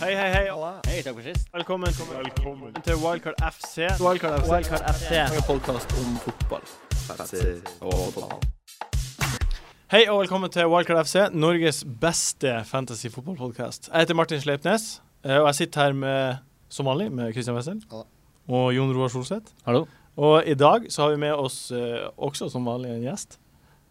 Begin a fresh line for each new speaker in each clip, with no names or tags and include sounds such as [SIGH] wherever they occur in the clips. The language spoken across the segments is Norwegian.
Hei, hei, hei. Hei, takk for sist. Velkommen, til Wildcard FC. Wildcard FC.
En podkast om fotball.
Hei og velkommen til Wildcard FC, Norges beste fantasy fotballpodkast. Jeg heter Martin Sleipnes, eh, og jeg sitter her med, som vanlig med Christian Wessel
Hallo.
og Jon Roar Solseth.
Hallo.
Og i dag så har vi med oss eh, også som vanlig en gjest.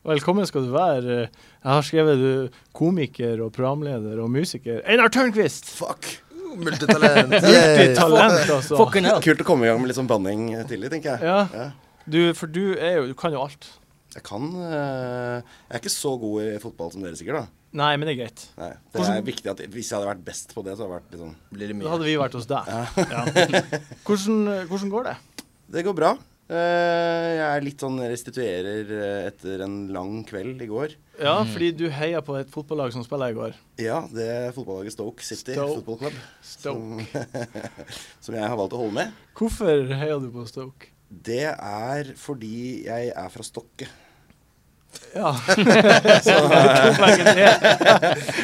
Velkommen skal du være. eh, Jeg har skrevet eh, komiker og programleder og musiker Einar Tørnquist!
Fuck! Multitalent.
Multitalent, altså.
Fucking hell.
Kult å komme i gang med litt sånn banning tidlig, tenker jeg.
Ja. Du, for du er jo Du kan jo alt.
Jeg kan eh, Jeg er ikke så god i fotball som dere sikkert, da.
Nei, men det er greit.
Nei, det er viktig at Hvis jeg hadde vært best på det, så hadde jeg vært litt sånn
Blir det
Da
mye?
hadde vi vært hos deg. Ja. Hvordan, hvordan går det?
Det går bra. Eh, jeg er litt sånn restituerer eh, etter en lang kveld i går.
Ja, fordi du heia på et fotballag som spiller i går.
Ja, det er fotballaget Stoke City
Stoke.
Football Club,
Stoke.
Mm. [LAUGHS] som jeg har valgt å holde med.
Hvorfor heia du på Stoke?
Det er fordi jeg er fra Stokke.
[LAUGHS] Ja. Så,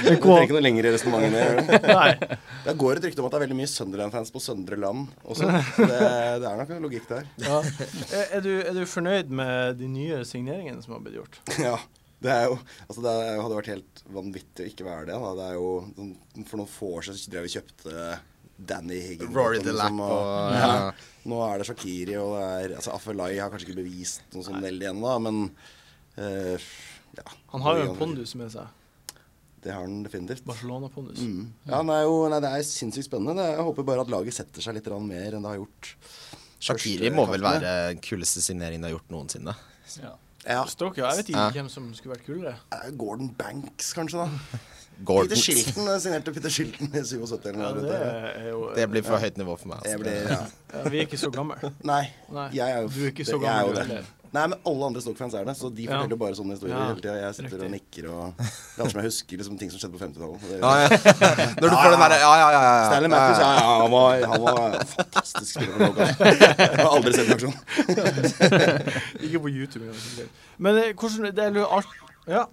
Du trenger ikke noe lengre resonnement enn det. gjør du?
Nei.
Det går et rykte om at det er veldig mye Sunderland-fans på Søndre Land også. Så det, det er nok en logikk der.
Ja. Er, er, du, er du fornøyd med de nye signeringene som har blitt gjort?
Ja. Det er jo, altså det er- hadde vært helt vanvittig å ikke være det. Da. Det er jo, sånn, for noen få år siden så drev vi og kjøpte Danny Higgins.
Rory
og
the
sånn
Lap
som,
og
[LAUGHS] ja. Nå er det Shakiri og det er altså, Afelai har kanskje ikke bevist noe sånn veldig ennå, men eh, ja.
Han har jo en pondus med seg.
Det har han definitivt.
Barcelona-pondus.
Mm. Ja, nei, jo, nei, Det er sinnssykt spennende. Det, er- jeg håper bare at laget setter seg litt grann mer enn det har gjort.
Shakiri
Første
må vel
kampene.
være den kuleste signeringen det har gjort noensinne.
Ja,
Stoke, ja. Jeg vet ikke
Ja.
hvem som skulle vært kulere.
eh, Gordon Banks, kanskje, da. Peter
Gordon.
Shilton eh, signerte Peter Shilton i 77
Ja,
eller noe.
det
rundt der.
er jo
[LAUGHS] Det blir for høyt nivå for meg.
Jeg
Altså.
blir, ja.
ja, Vi er ikke så gamle.
Nei,
Nei.
jeg er jo
Du er ikke
det-
så
jeg er jo
gammel
det.
heller.
Nei, men alle andre Stoke-fans er det, så
Ja.
de forteller jo bare sånne historier
Ja,
hele tida. Jeg sitter og nikker og Det er alt som jeg husker liksom ting som skjedde på 50-tallet. Det-
Ja,
[LAUGHS]
ja. Når du får den derre Ja, ja, ja. ja,
Stanley
ja,
Matthews,
ja.
ja, ja, han var, han var en fantastisk spiller for Norge. Jeg har aldri sett noe sånt.
Ikke på YouTube. engang, sikkert. Men eh, hvordan Det er jo alt
[LAUGHS]
Ja.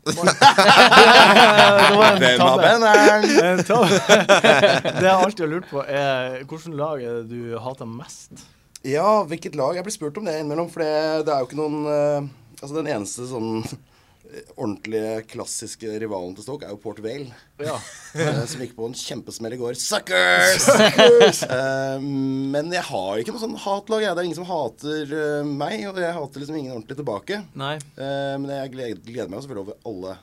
[LAUGHS]
Hvem av
Bare-
banneren?
En tabbe. [LAUGHS] Det jeg alltid har lurt på, er hvilket lag er det du hater mest?
Ja, hvilket lag? Jeg blir spurt om det innimellom, for det, det er jo ikke noen eh, Altså, den eneste sånn eh, ordentlige, klassiske rivalen til Stoke er jo Port Vale.
Ja.
[LAUGHS] Eh, som gikk på en kjempesmell i går.
[LAUGHS]
Suckers! Suckers! Eh, men jeg har ikke noe sånn hatlag. Jeg. Det er ingen som hater eh, meg, og jeg hater liksom ingen ordentlig tilbake.
Nei.
Eh, men jeg gleder, gleder meg jo selvfølgelig over alle,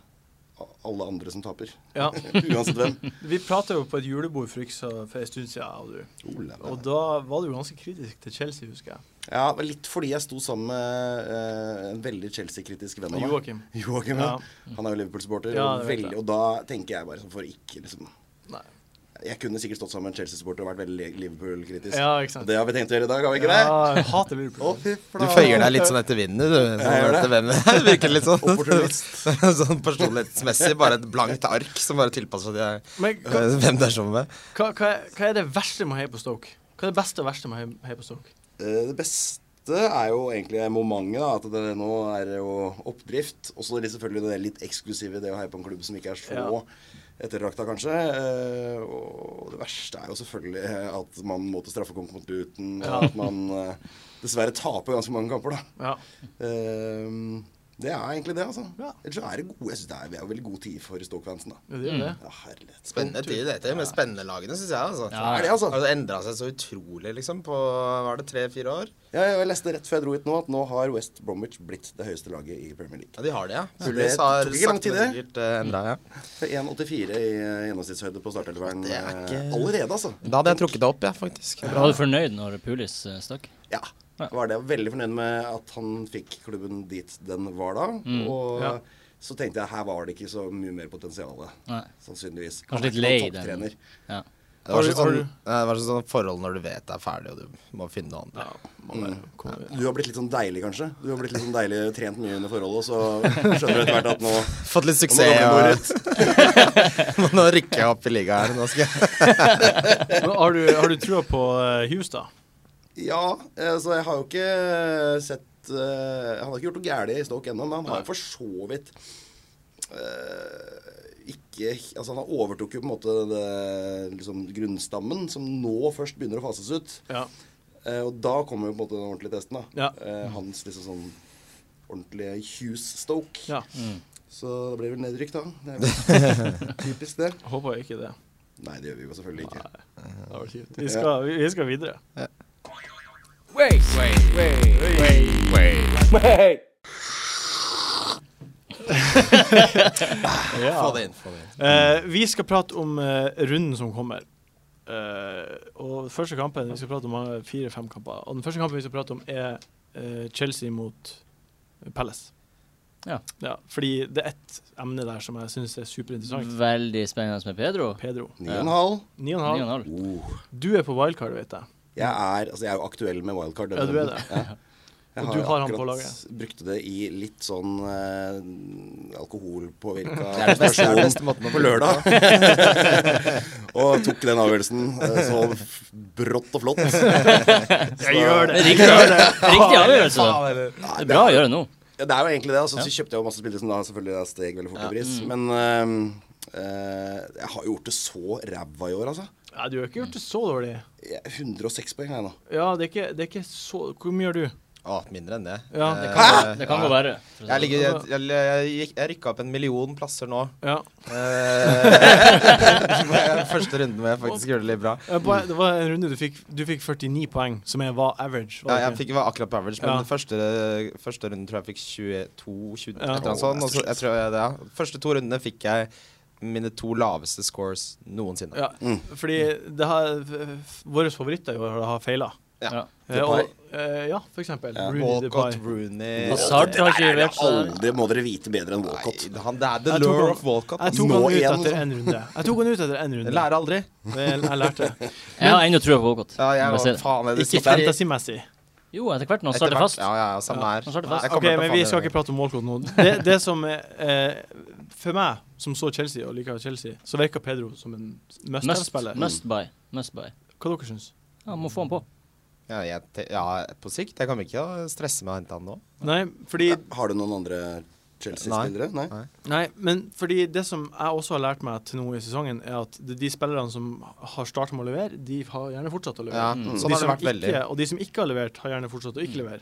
alle andre som taper.
Ja.
[LAUGHS] Uansett hvem.
[LAUGHS] Vi prata jo på et julebord for ikke så for en stund siden, jeg og du. Og da var du jo ganske kritisk til Chelsea, husker jeg.
Ja, men litt fordi jeg sto sammen med eh, en veldig Chelsea-kritisk venn av meg.
Joakim.
[LAUGHS] Joakim, ja. Han er jo Liverpool-supporter.
Ja,
og,
det vet jeg.
veldig- og da tenker jeg bare sånn for ikke liksom
Nei.
Jeg kunne sikkert stått sammen med en Chelsea-supporter og vært veldig Liverpool-kritisk.
Ja, ikke sant.
Det har vi tenkt å gjøre i dag, har vi ikke det?
Ja, jeg hater
Å,
Liverpool.
fy
Du [LAUGHS]
flate.
føyer deg litt sånn etter vinden, du.
Jeg gjør
Sånn
det.
etter hvem [LAUGHS] det virker litt sånn.
Opportunist.
[LAUGHS] Sånn personlighetsmessig, bare et blankt ark som bare tilpasser seg til
Men hva,
eh, hvem det [LAUGHS] er sammen med.
hva, hva, er- hva er det verste med å heie på Stoke? Hva er det beste og verste med å heie- heie på Stoke?
Eh, Det beste er jo egentlig momentet, da. At det nå er det jo oppdrift. Og så er det selvfølgelig det litt eksklusive, det å heie på en klubb som ikke er så
Ja.
ettertrakta, kanskje. Eh, Og det verste er jo selvfølgelig at man må til straffekonk mot Luton. og
Ja.
At man eh, dessverre taper ganske mange kamper, da.
Ja.
Eh, Det er egentlig det, altså.
Ja.
Ellers så er det gode. Jeg synes det er, vi er jo veldig god tid for Stoke-fansen, da.
Det er jo det.
Ja, herlighet.
Spennende tid, dette. Men spennende lagene, syns jeg. altså.
Er det, altså?
Har det endra seg så utrolig, liksom, på var det tre-fire år?
Ja, jeg leste rett før jeg dro hit nå at nå har West Bromwich blitt det høyeste laget i Premier League.
Ja, de har det, ja.
det
Pullis
tok
har
ikke lang
sakte,
tid, det.
men sikkert endra, ja.
For 1,84 i eh, gjennomsnittshøyde på startelveren
Det er
eh,
ikke-
allerede, altså.
Da hadde jeg trukket det opp, ja, faktisk.
Var du fornøyd når Pulis eh, stakk?
Ja. Var det veldig fornøyd med at han fikk klubben dit den var da.
Mm.
Og
Ja.
så tenkte jeg her var det ikke så mye mer potensial,
Nei.
sannsynligvis.
Kanskje litt
Han er ikke
lei den.
noen topptrener.
Ja.
Det var
Har du-
sånn,
har
sånn,
du-
ja, det var sånn, sånn forhold når du vet det er ferdig, og du må finne noe annet.
Ja, man bare kommer-
Du har blitt litt sånn deilig, kanskje. Du har blitt litt sånn deilig trent mye under forholdet, så skjønner du etter hvert
[LAUGHS]
at nå
Fått litt
nå må gamle
suksess,
går
og
ut.
[LAUGHS] nå rykker jeg opp i ligaen her. Nå skal
[LAUGHS]
jeg
Men Har du, har du trua på eh, Hughes, da?
Ja, eh, så jeg har jo ikke sett eh, Han har ikke gjort noe gærent i Stoke ennå, men han har jo for så vidt eh, ikke Altså, han overtok jo på en måte det, liksom, grunnstammen, som nå først begynner å fases ut.
Ja.
Eh, og da kommer jo på en måte den ordentlige testen, da.
Ja.
Eh, hans liksom sånn ordentlige Hughes-stoke.
ja.
Så det blir vel nedrykk, da. Det
[LAUGHS]
er vel typisk det.
Håper jeg ikke det.
Nei, det gjør vi jo selvfølgelig ikke.
Det var kjipt. Vi skal, vi skal videre. [LAUGHS]
Få
[LAUGHS] Ja.
det inn. Få det inn.
Eh, vi skal prate om eh, runden som kommer. Eh, og første kampen Vi skal prate om eh, fire-fem kamper. Og den første kampen vi skal prate om, er eh, Chelsea mot eh, Palace.
Ja.
Fordi det er ett emne der som jeg syns er
Mm.
superinteressant.
Veldig spennende med Pedro.
Pedro.
Ni og en halv.
9,5.
9,5.
Oh.
Du er på wildcard, vet jeg.
Jeg er altså jeg er jo aktuell med wildcard. denne
Ja, du er
runden.
det.
Ja. Jeg
Og du har han
akkurat
på laget.
brukte det i litt sånn eh, alkoholpåvirka
Det er den beste, det er den beste måten å
på lørdag. [LAUGHS] og tok den avgjørelsen eh, så f- brått
[LAUGHS]
og flott.
Jeg gjør det!
Riktig, riktig avgjørelse.
Nei,
Det er bra å gjøre det nå.
Ja, det er jo egentlig det. Altså, Så kjøpte jeg jo masse spillere som da selvfølgelig steg veldig fort i pris.
Mm.
Men eh, eh, jeg har jo gjort det så ræva i år, altså.
Nei, du har ikke gjort det så dårlig.
Jeg er 106 poeng har jeg nå.
Ja, det er ikke, det er ikke så Hvor mye gjør du?
Å, Mindre enn det.
Ja, det
Eh,
Det kan gå verre. for å si
Jeg,
det
ligger, jeg, jeg, jeg, gikk- jeg rykka opp en million plasser nå.
Ja.
Eh, [LAUGHS] Første runden hvor jeg faktisk gjorde det litt bra.
Eh, på- Det var en runde du fikk Du fikk 49 poeng, som er var average.
Ja,
Var det
jeg
ikke?
fikk var akkurat på average, men
Ja.
den første, første runden tror jeg fikk 22 20,
Ja.
et eller annet sånt. Og så, jeg tror jeg, det, ja. Første to rundene fikk jeg mine to laveste scores noensinne.
Ja, fordi det har, f- våre favoritter i år har feila.
sånn. Ja.
Eh,
Depay.
og, eh, ja, for eksempel.
Ja,
Rooney
Walcott,
Depay.
sånn.
Rooney
Hazard har ikke levert seg.
Aldri må dere vite bedre enn Walcott.
Nei, han, det er the
Jeg tok
lure
han-
of Walcott.
Jeg
ass.
tok han
Nå
ut
igjen,
etter
altså.
én runde. Jeg tok han ut etter én runde.
Jeg lærer aldri.
Jeg, jeg lærte det.
Jeg har ennå trua på Walcott.
Ja, jeg
må
var
si det.
faen er det
Ikke
siste-
fantasy-messig.
Jo, etter hvert når han
Etter
starter
hvert-
fast.
Ja, ja, ja, samme her.
Han starter fast.
Jeg
Ok,
kommer til å
men vi
faen
skal
gjøre
ikke prate om Walcott nå. Det, det som er eh, For meg, som så Chelsea og liker Chelsea, så virker Pedro som en
Must,
must-spiller.
must buy. Must buy.
Hva dere syns?
Ja, må få han på.
Ja, jeg, te- ja, på sikt. Jeg kommer ikke til å stresse med å hente han nå.
Nei, fordi
Har du noen andre Chelsea-spillere? Nei.
Nei.
Nei, men fordi det som jeg også har lært meg til nå i sesongen, er at de de spillerne som har startet med å levere, de har gjerne fortsatt å levere.
Ja,
Mm. de
sånn har det
som
vært veldig. Mm.
ikke, og de som ikke har levert, har gjerne fortsatt å ikke levere.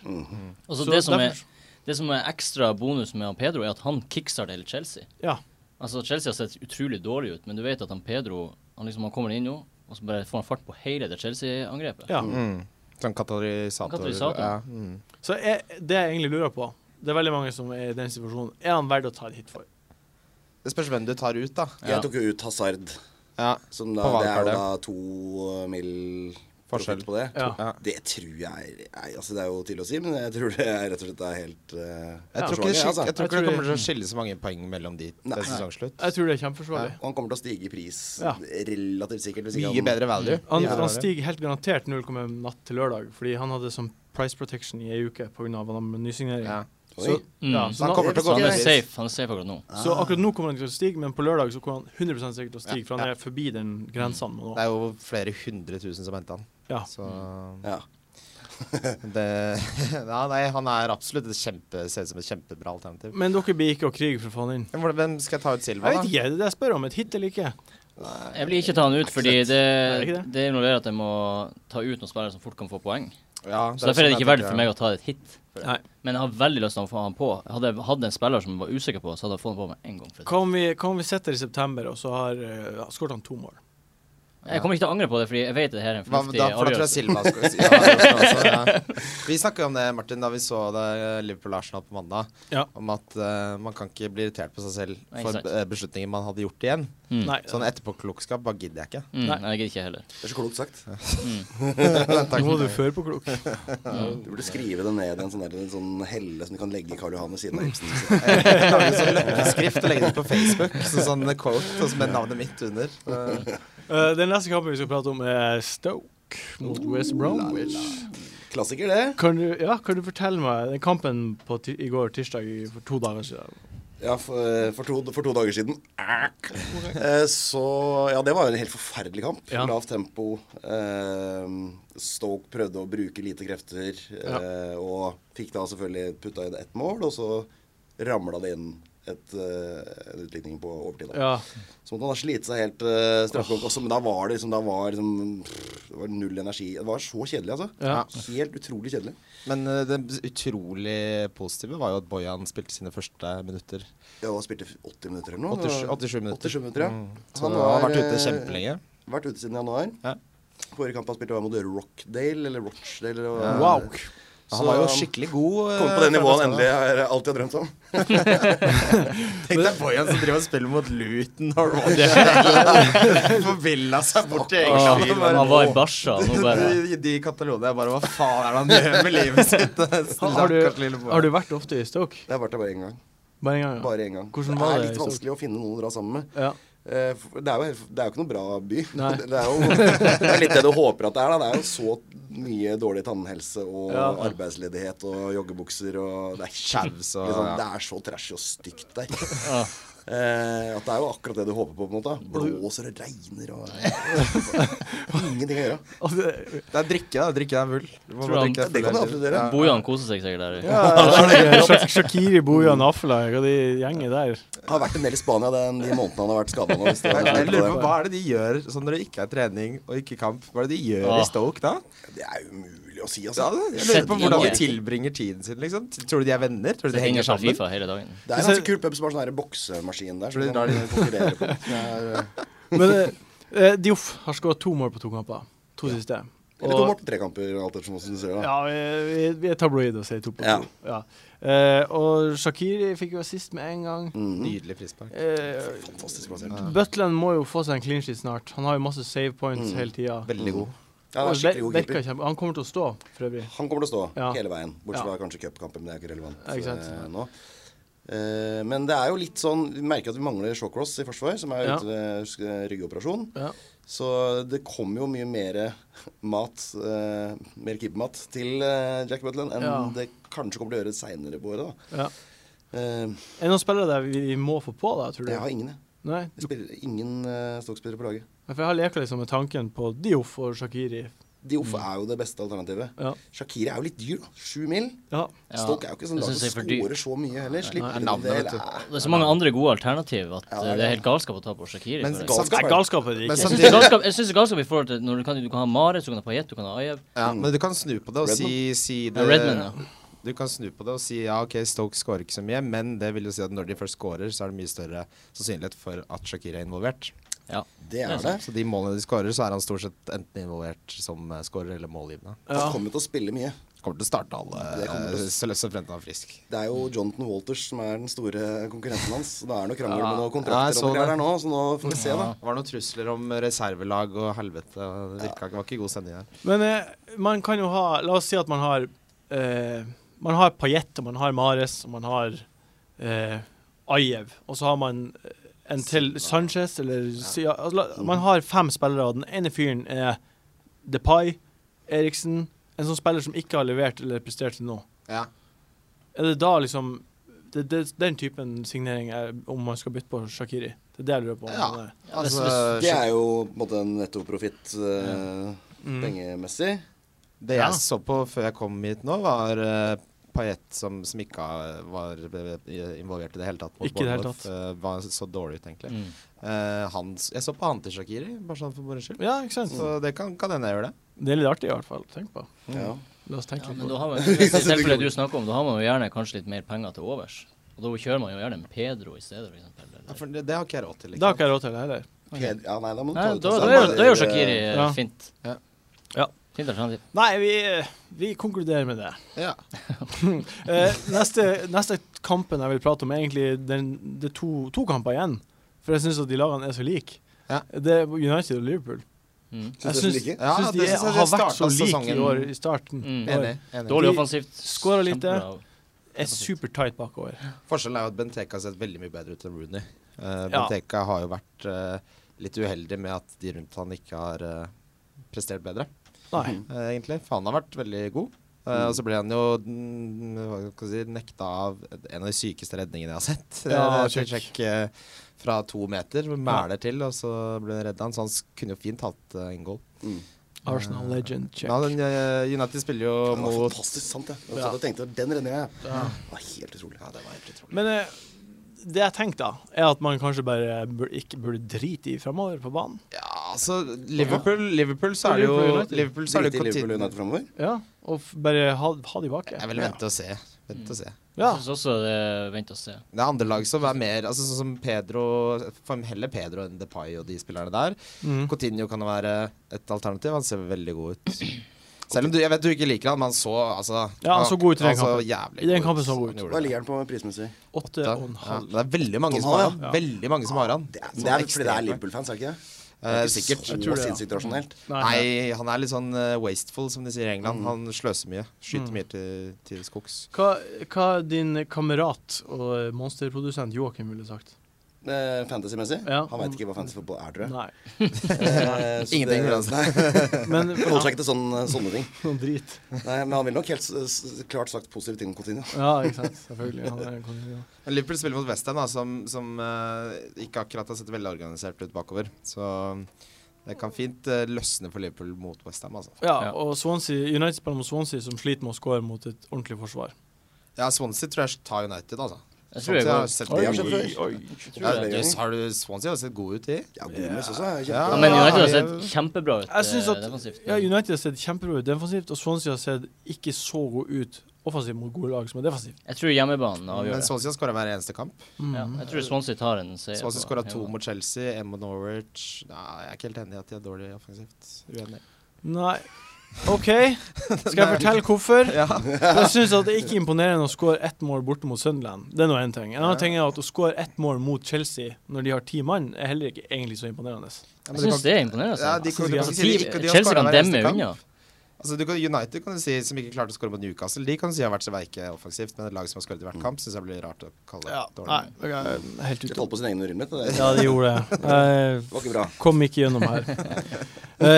Og så
Så
det som er
derfor-
det som er ekstra bonus med han Pedro, er at han kickstarter hele Chelsea.
Ja.
Altså, Chelsea har sett utrolig dårlig ut, men du vet at han Pedro han liksom, han kommer inn nå, og så bare får han fart på hele det Chelsea-angrepet.
ja.
Mm. Sånn katalysator.
Katalysator.
Ja. Mm.
Så jeg, det jeg egentlig lurer på, det er veldig mange som er i den situasjonen, er han verdt å ta et hit for?
Det spørs hvem du tar ut, da.
Ja.
Jeg tok jo ut Hazard,
Ja.
som da,
På
det er jo
wildcardet.
da to eh, mil
Forskjell.
profitt på det.
Ja.
Ja.
Det tror jeg nei, altså Det er jo til å si, men jeg tror det er rett og slett er helt eh,
Jeg tror, ikke
forsvarlig,
det, skil-
altså.
jeg tror ikke
Jeg
det
tror-
kommer til å skille så mange poeng mellom de
Nei.
ved sesongslutt.
Jeg tror det er kjempeforsvarlig.
Og han kommer til å stige i pris
Ja.
relativt sikkert. hvis ikke
Mye
han-
bedre value.
Han,
Ja.
han stiger helt garantert 0,1 natt til lørdag, fordi han hadde sånn price protection i ei uke pga. nysignering.
Ja.
Så,
Oi.
Mm.
ja,
Så
så,
han
nå,
kommer til å
Så
gå
han er
ned.
safe han er safe akkurat nå.
så akkurat nå kommer han til å stige, men på lørdag så kommer han 100 sikkert til å stige, for han er forbi den grensa han må nå.
Det er jo flere hundre tusen som henter han.
Ja.
Så
Ja.
det [LAUGHS] ja, Nei, han er absolutt et kjempe, ser ut som et kjempebra alternativ.
Men dere blir ikke å krige for å få han inn.
Men hvordan- Hvem skal jeg ta
Jeg
ut Silva,
vet
da?
ikke, det er det jeg spør om. Et hit eller ikke?
Jeg vil ikke ta han ut, fordi det,
det ikke det?
det involverer at jeg må ta ut noen spillere som fort kan få poeng.
Ja,
Så Derfor er det
sånn
ikke verdt
jeg
for
tenker.
meg å ta et hit.
Nei.
Men jeg har veldig lyst til å få han på. Hadde jeg hatt en spiller som jeg var usikker på, så hadde jeg fått han på med en gang.
Hva om vi, hva om vi setter i september, og så har uh, skåret han to mål?
Jeg kommer ikke til å angre på det, fordi jeg vet det her er en
Hva,
fornuftig
da, for da tror jeg
avgjørelse.
Silva
[LAUGHS]
skal ja, jeg tror også, altså, ja. Vi snakka om det, Martin, da vi så det eh, Liverpool-Arsenal på mandag.
Ja.
Om at eh, man kan ikke bli irritert på seg selv
Nei,
for
sant.
eh, beslutninger man hadde gjort igjen.
Mm.
Nei. eh,
Sånn etterpåklokskap bare
[LAUGHS]
gidder jeg ikke.
Mm,
Nei.
nei, jeg gidder ikke heller.
Det er så klokt sagt.
Nå må du føre på
[LAUGHS]
klok.
Du burde skrive det ned i en sånn, der, en sånn helle som du kan legge Karl Johan ved siden av Ibsen.
Lage en sånn [LAUGHS] løkkeskrift og legge det ut på Facebook. Så sånn quote og så med navnet mitt under.
[LAUGHS]
Eh,
Eh, den neste kampen vi skal prate om, er Stoke mot West Bromwich.
Klassiker, det.
Kan du, ja, kan du fortelle meg den kampen på ti i går, tirsdag, i- for to dager siden?
Ja, for, for, to, for to dager siden. Eh, Så Ja, det var jo en helt forferdelig kamp.
Ja.
Lavt tempo. eh, Stoke prøvde å bruke lite krefter. eh, Og fikk da selvfølgelig putta inn ett mål, og så ramla det inn et, eh, en utligning på overtid. Da.
Ja.
Så måtte man da slite seg helt uh, straffekonk også, men da var det liksom, da var liksom pff, Det var null energi. Det var så kjedelig, altså.
ja.
Helt utrolig kjedelig.
Men eh, det utrolig positive var jo at Bojan spilte sine første minutter.
Ja, han spilte 80 minutter eller noe.
87, 87 minutter.
87 minutter, ja.
Mm. Så
Han
han har
var,
vært ute
eh,
kjempelenge.
Vært ute siden januar.
Ja.
Forrige kamp han spilte var mot Rockdale, eller Rochdale. Eller, hva-
Wow.
Han var jo
så-
skikkelig god. eh,
Kommet på det nivået han
før
endelig har eh, alltid har drømt om.
skada. Tenk deg Bojan som driver og spiller mot Luton og [LAUGHS] Forvilla seg bort til
Ah,
England. [LAUGHS] og
han var i Barca, og nå bare
De, de i Catalonia jeg bare Hva faen er det han gjør med livet [LAUGHS] sitt?
Sånn
Har
Stakkars
du,
lille Bojan.
har du vært ofte i Stoke?
Jeg har vært der bare én gang.
Bare en gang? Ja.
Bare en gang.
Hvordan
det
var
er
det i
litt
Stoke?
vanskelig å finne noen å dra sammen med.
Ja.
Eh, for Det er jo, helt- det er jo ikke noen bra by.
Nei.
[LAUGHS] Det er jo det er litt det du håper at det er. da. Det er jo så mye dårlig tannhelse og
Ja.
arbeidsledighet og joggebukser og Det er
Kjaus og-
liksom, Det er så trashy og stygt der.
Ja.
Eh, at det er jo akkurat det du håper på, på en måte. Blåser og regner og [LAUGHS] Ingenting å gjøre.
Og det-
Det er drikke, da. Drikke deg full. Du må
Tror
bare
han-
drikke
Ja, det kan du
deg full hele tiden.
absolutt gjøre.
Bojan koser seg sikkert der.
Shak- Shakiri, Bojan, Aflag og de gjengen der.
Har vært en del i Spania den, de månedene han har vært skada nå. Hvis det,
Jeg, jeg lurer på,
det.
Hva er det de gjør sånn når det ikke er trening og ikke kamp? Hva er det de gjør
Ah.
i Stoke da?
det er umulig å si,
Ja,
altså.
det- jeg lurer
Sett
på hvordan de
ingen.
tilbringer tiden sin. liksom Tror du de er venner? Tror du de
Det
henger
henger seg
sammen?
Fifa hele dagen.
Det er en ganske kul pub som har sånn her boksemaskin der. Som
Fordi da er
kan
de-
konkurrere på. Det er, eh,
Men eh, eh, Dioff har skåra to mål på to kamper. To siste.
Eller to Morten Trekamper, alt etter hvordan du ser det. da.
Ja, vi, vi er tabloide og sier to på to.
Ja.
Ja. Eh, og Shakiri fikk jo assist med en gang.
Mm.
Nydelig frispark.
Eh,
Fantastisk plassert.
Butland må jo få seg en clean sheet snart. Han har jo masse save points
Mm.
hele tida.
Veldig god.
Ja, det er skikkelig god keeper.
Han kommer til å stå, for øvrig.
Han kommer til å stå
Ja.
hele veien, bortsett
Ja.
fra kanskje cupkampen, men det er ikke relevant
Ja, ikke sant.
eh, nå. Eh, men det er jo litt sånn Vi merker at vi mangler Shawcross i forsvar, som er
Ja.
ute ved sk- ryggoperasjon.
Ja.
Så det kommer jo mye mer mat, eh, mer keepermat, til eh, Jack Butland enn
Ja.
det kanskje kommer til å gjøre seinere på året. da.
Ja.
Eh,
Er det noen spillere der vi, vi må få på, da, tror du?
jeg har ingen, jeg.
Nei?
jeg spiller, ingen uh, Stoke-spillere på laget.
For jeg har leka liksom med tanken på Dioff og Shakiri.
Dioff er jo det beste alternativet.
Ja.
Shakiri er jo litt dyr, da. Sju mil.
ja.
Ja,
Stoke er jo ikke sånn
jeg
lag
synes det
som
er for dyrt.
skårer så mye heller. Slipper
det er navnet,
en del.
vet du.
Eh,
Det er så mange andre gode alternativ at
Ja,
eh,
det er
det
det.
er helt galskap å ta på Shakiri.
Men
for det.
gal-
Nei, galskap er det
Men
ikke.
Jeg syns
samtidig-
det er galskap jeg synes det er galskap i forhold til når du kan, du kan ha Mares, du kan ha Payet, du kan ha Ayeb.
Ja, men du kan snu på det og si, si det
Ja, Redman, ja.
Du kan snu på det og si ja, ok, Stoke skårer ikke så mye, men det vil jo si at når de først skårer, så er det mye større sannsynlighet for at Shakira er involvert.
Ja.
Det er det.
Så de målene de skårer, så er han stort sett enten involvert som eh, skårer eller målgivende.
Ja.
Han kommer til å spille mye.
Kommer til å starte alle,
Det kommer til å-
eh, så så fremt han er frisk.
Det er jo Jonathan Walters som er den store konkurrenten hans. Da er det noe krangel med noen
Ja,
kontrakter
jeg
og
så
noe greier der
det.
nå, så nå får vi se, da.
Det var noen trusler om reservelag og helvete. og Det virka ikke, var ikke god stemning der.
Men eh, man kan jo ha La oss si at man har eh, Man har Payet, og man har Mares, og man har eh, Ajev. Og så har man eh, en til Sanchez, eller Sia- altså, la- Man har fem spillere, og den ene fyren er DePay, Eriksen En sånn spiller som ikke har levert eller prestert til nå.
Ja.
Er det da liksom det, det, Den typen signering er om man skal bytte på Shakiri. Det er det jeg lurer på. om
Ja.
han er.
Altså,
hvis-
Det er jo på en måte en nettoprofitt eh,
Mm.
pengemessig.
Det
Ja.
jeg så på før jeg kom hit nå, var uh, Payet som, som ikke har- var eh, involvert i det hele tatt. mot
Ikke i det hele
Bournemouth. Eh, var så dårlig ut, egentlig.
Mm.
Eh, han, jeg så på han til Shakiri, bare sånn for moro skyld.
Ja, ikke sant?
Så det kan, kan hende jeg gjør det.
Det er litt artig i hvert fall. Tenk på.
Ja.
La oss tenke
Ja,
litt
men
på
da
det.
har man, I tilfellet du snakker om, da har man jo gjerne kanskje litt mer penger til overs. Og da kjører man jo gjerne en Pedro i stedet, for eksempel.
Ja,
Eller.
for det, det har ikke jeg råd til. liksom.
Det har ikke jeg råd til det heller.
Ped- ja, nei, da må du
Nei,
ta ut
da, da,
Sander,
gjør- da gjør
eh,
Shakiri eh,
Ja.
fint.
Ja.
Ja.
Fint alternativ.
Nei, vi, vi konkluderer med det.
Ja.
Eh, neste, neste kampen jeg vil prate om, er egentlig den, det er to, to kamper igjen. For jeg syns at de lagene er så like.
Ja.
Det er United og Liverpool.
Mm.
Synes
Jeg
du det er
syns
like?
Ja,
syns de
det synes jeg
er,
de
har vært så
startet
like i
sesongen.
år i starten.
Mm.
Og
Enig. enig.
Dårlig
De
offensivt.
skårer lite.
Kjempebra.
er super tight bakover.
Forskjellen er jo at Benteke har sett veldig mye bedre ut enn Rooney. Eh,
Ja.
Benteke har jo vært eh, litt uheldig med at de rundt han ikke har eh, prestert bedre,
Nei.
eh, egentlig. For han har vært veldig god. Eh, Og så ble han jo mm, hva skal jeg si, nekta av en av de sykeste redningene jeg har sett. Det-
Ja,
det er et
sjekk.
sjekk eh, fra to meter, mæler til, og så ble han redda. Så han s- kunne jo fint hatt eh, en goal.
Mm.
Arsenal legend, check.
Ja, den, eh, United spiller jo
Den var
mot
fantastisk sant, jeg. Jeg
Ja.
satt og tenkte den redninga, jeg.
Ja.
Den var helt utrolig.
Ja, det var helt utrolig.
Men eh, det jeg tenker da, er at man kanskje bare bur ikke burde drite i framover på banen.
Ja, altså Liverpool, Liverpool så er det jo
Liverpool United.
Liverpool så er det
Drite i
jo
Liverpool
Coutinho.
United fremover.
Ja, og f bare ha, ha de baki.
Jeg vil vente og se. Vente og se.
Ja.
Jeg syns også det er vent og se.
Det er andre lag som er mer altså Sånn som Pedro for Heller Pedro enn Depay og de spillerne der.
Mm.
Coutinho kan være et alternativ. Han ser veldig god ut. Selv om du, jeg vet du ikke liker han, men han så altså,
Ja, han så god ut i den
han så
kampen.
jævlig
I den
god
kampen
ut.
så han god ut.
Han gjorde
Hva
det.
ligger den på prismessig?
Åtte og en
Ja,
halv.
det er veldig mange som har han.
Ja.
Veldig mange som har han.
Det er,
Sånn
det er fordi det er
ekstremt.
Liverpool-fans, er det ikke det? Det
Eh,
er ikke sikkert
jeg
så
tror det, ja.
sinnssykt rasjonelt.
Nei, han er litt sånn eh, wasteful, som de sier i England. Han sløser mye. Skyter
Mm.
mye til, til skogs.
Hva, hva din kamerat og monsterprodusent Joakim ville sagt?
Eh, Fantasy-messig.
Ja.
Han veit ikke hva fantasy-fotball er, tror jeg.
Nei.
Eh, [LAUGHS] så
Ingenting,
det-
vil han si.
[LAUGHS]
Nei,
Men
Han holder seg ikke til sånne, sånne ting.
noe drit.
Nei, Men han ville nok helt s- s- klart sagt positive ting om Coutinho.
Ja, ikke sant. Selvfølgelig. Han er en konge, ja.
Men Liverpool spiller mot Westham, da, som, som eh, ikke akkurat har sett veldig organisert ut bakover. Så det kan fint eh, løsne for Liverpool mot Westham, altså.
ja, og Swansea, United spiller mot Swansea, som sliter med å score mot et ordentlig forsvar.
Ja, Swansea tror jeg tar United, altså.
Jeg tror jeg
Swansea
går
har sett
Oi,
god
oi,
ut.
oi.
jeg tror
Ja,
jeg-
det-
du- Har du Swansea har sett god ut i?
Ja, Gomez også er
Ja.
Ja,
kjempe...
men United har
jeg-
sett kjempebra ut
Jeg synes
eh,
at-
defensivt.
Ja, United har sett kjempebra ut defensivt, og Swansea har sett ikke så god ut offensivt mot gode lag som er defensivt.
Jeg tror hjemmebanen avgjør
Men
det.
Swansea har skåra hver eneste kamp.
Mm.
Ja, jeg tror Swansea tar en seier.
Swansea
på
skåra to
hjemmebane.
mot Chelsea, én mot Norwich. Nei, jeg er ikke helt enig i at de er dårlige
[LAUGHS]
offensivt. Uenig.
Nei. OK, skal jeg fortelle hvorfor?
Ja.
Jeg syns det er ikke imponerende å score ett mål borte mot Sunderland. Det er nå én ting. En annen ting er at å score ett mål mot Chelsea når de har ti mann, er heller ikke egentlig så imponerende.
Ja, men
Jeg
du
syns
kan-
det er imponerende.
Ja, de
Altså.
kan- du kan
Altså,
ikke si de
Ti-
ikke- de har
Chelsea
scoret
kan
hver eneste
demme
kamp.
unna.
Altså, du kan, United kan du si, som ikke klarte å skåre mot Newcastle, de kan du si har vært så veike offensivt, men et lag som har skåret i hvert kamp, syns jeg blir rart å kalle det dårlig.
Nei, jeg er helt
De
ute.
holdt på sin egen urinmitte. Det
Ja, de gjorde det. Jeg
var ikke bra.
kom ikke gjennom her.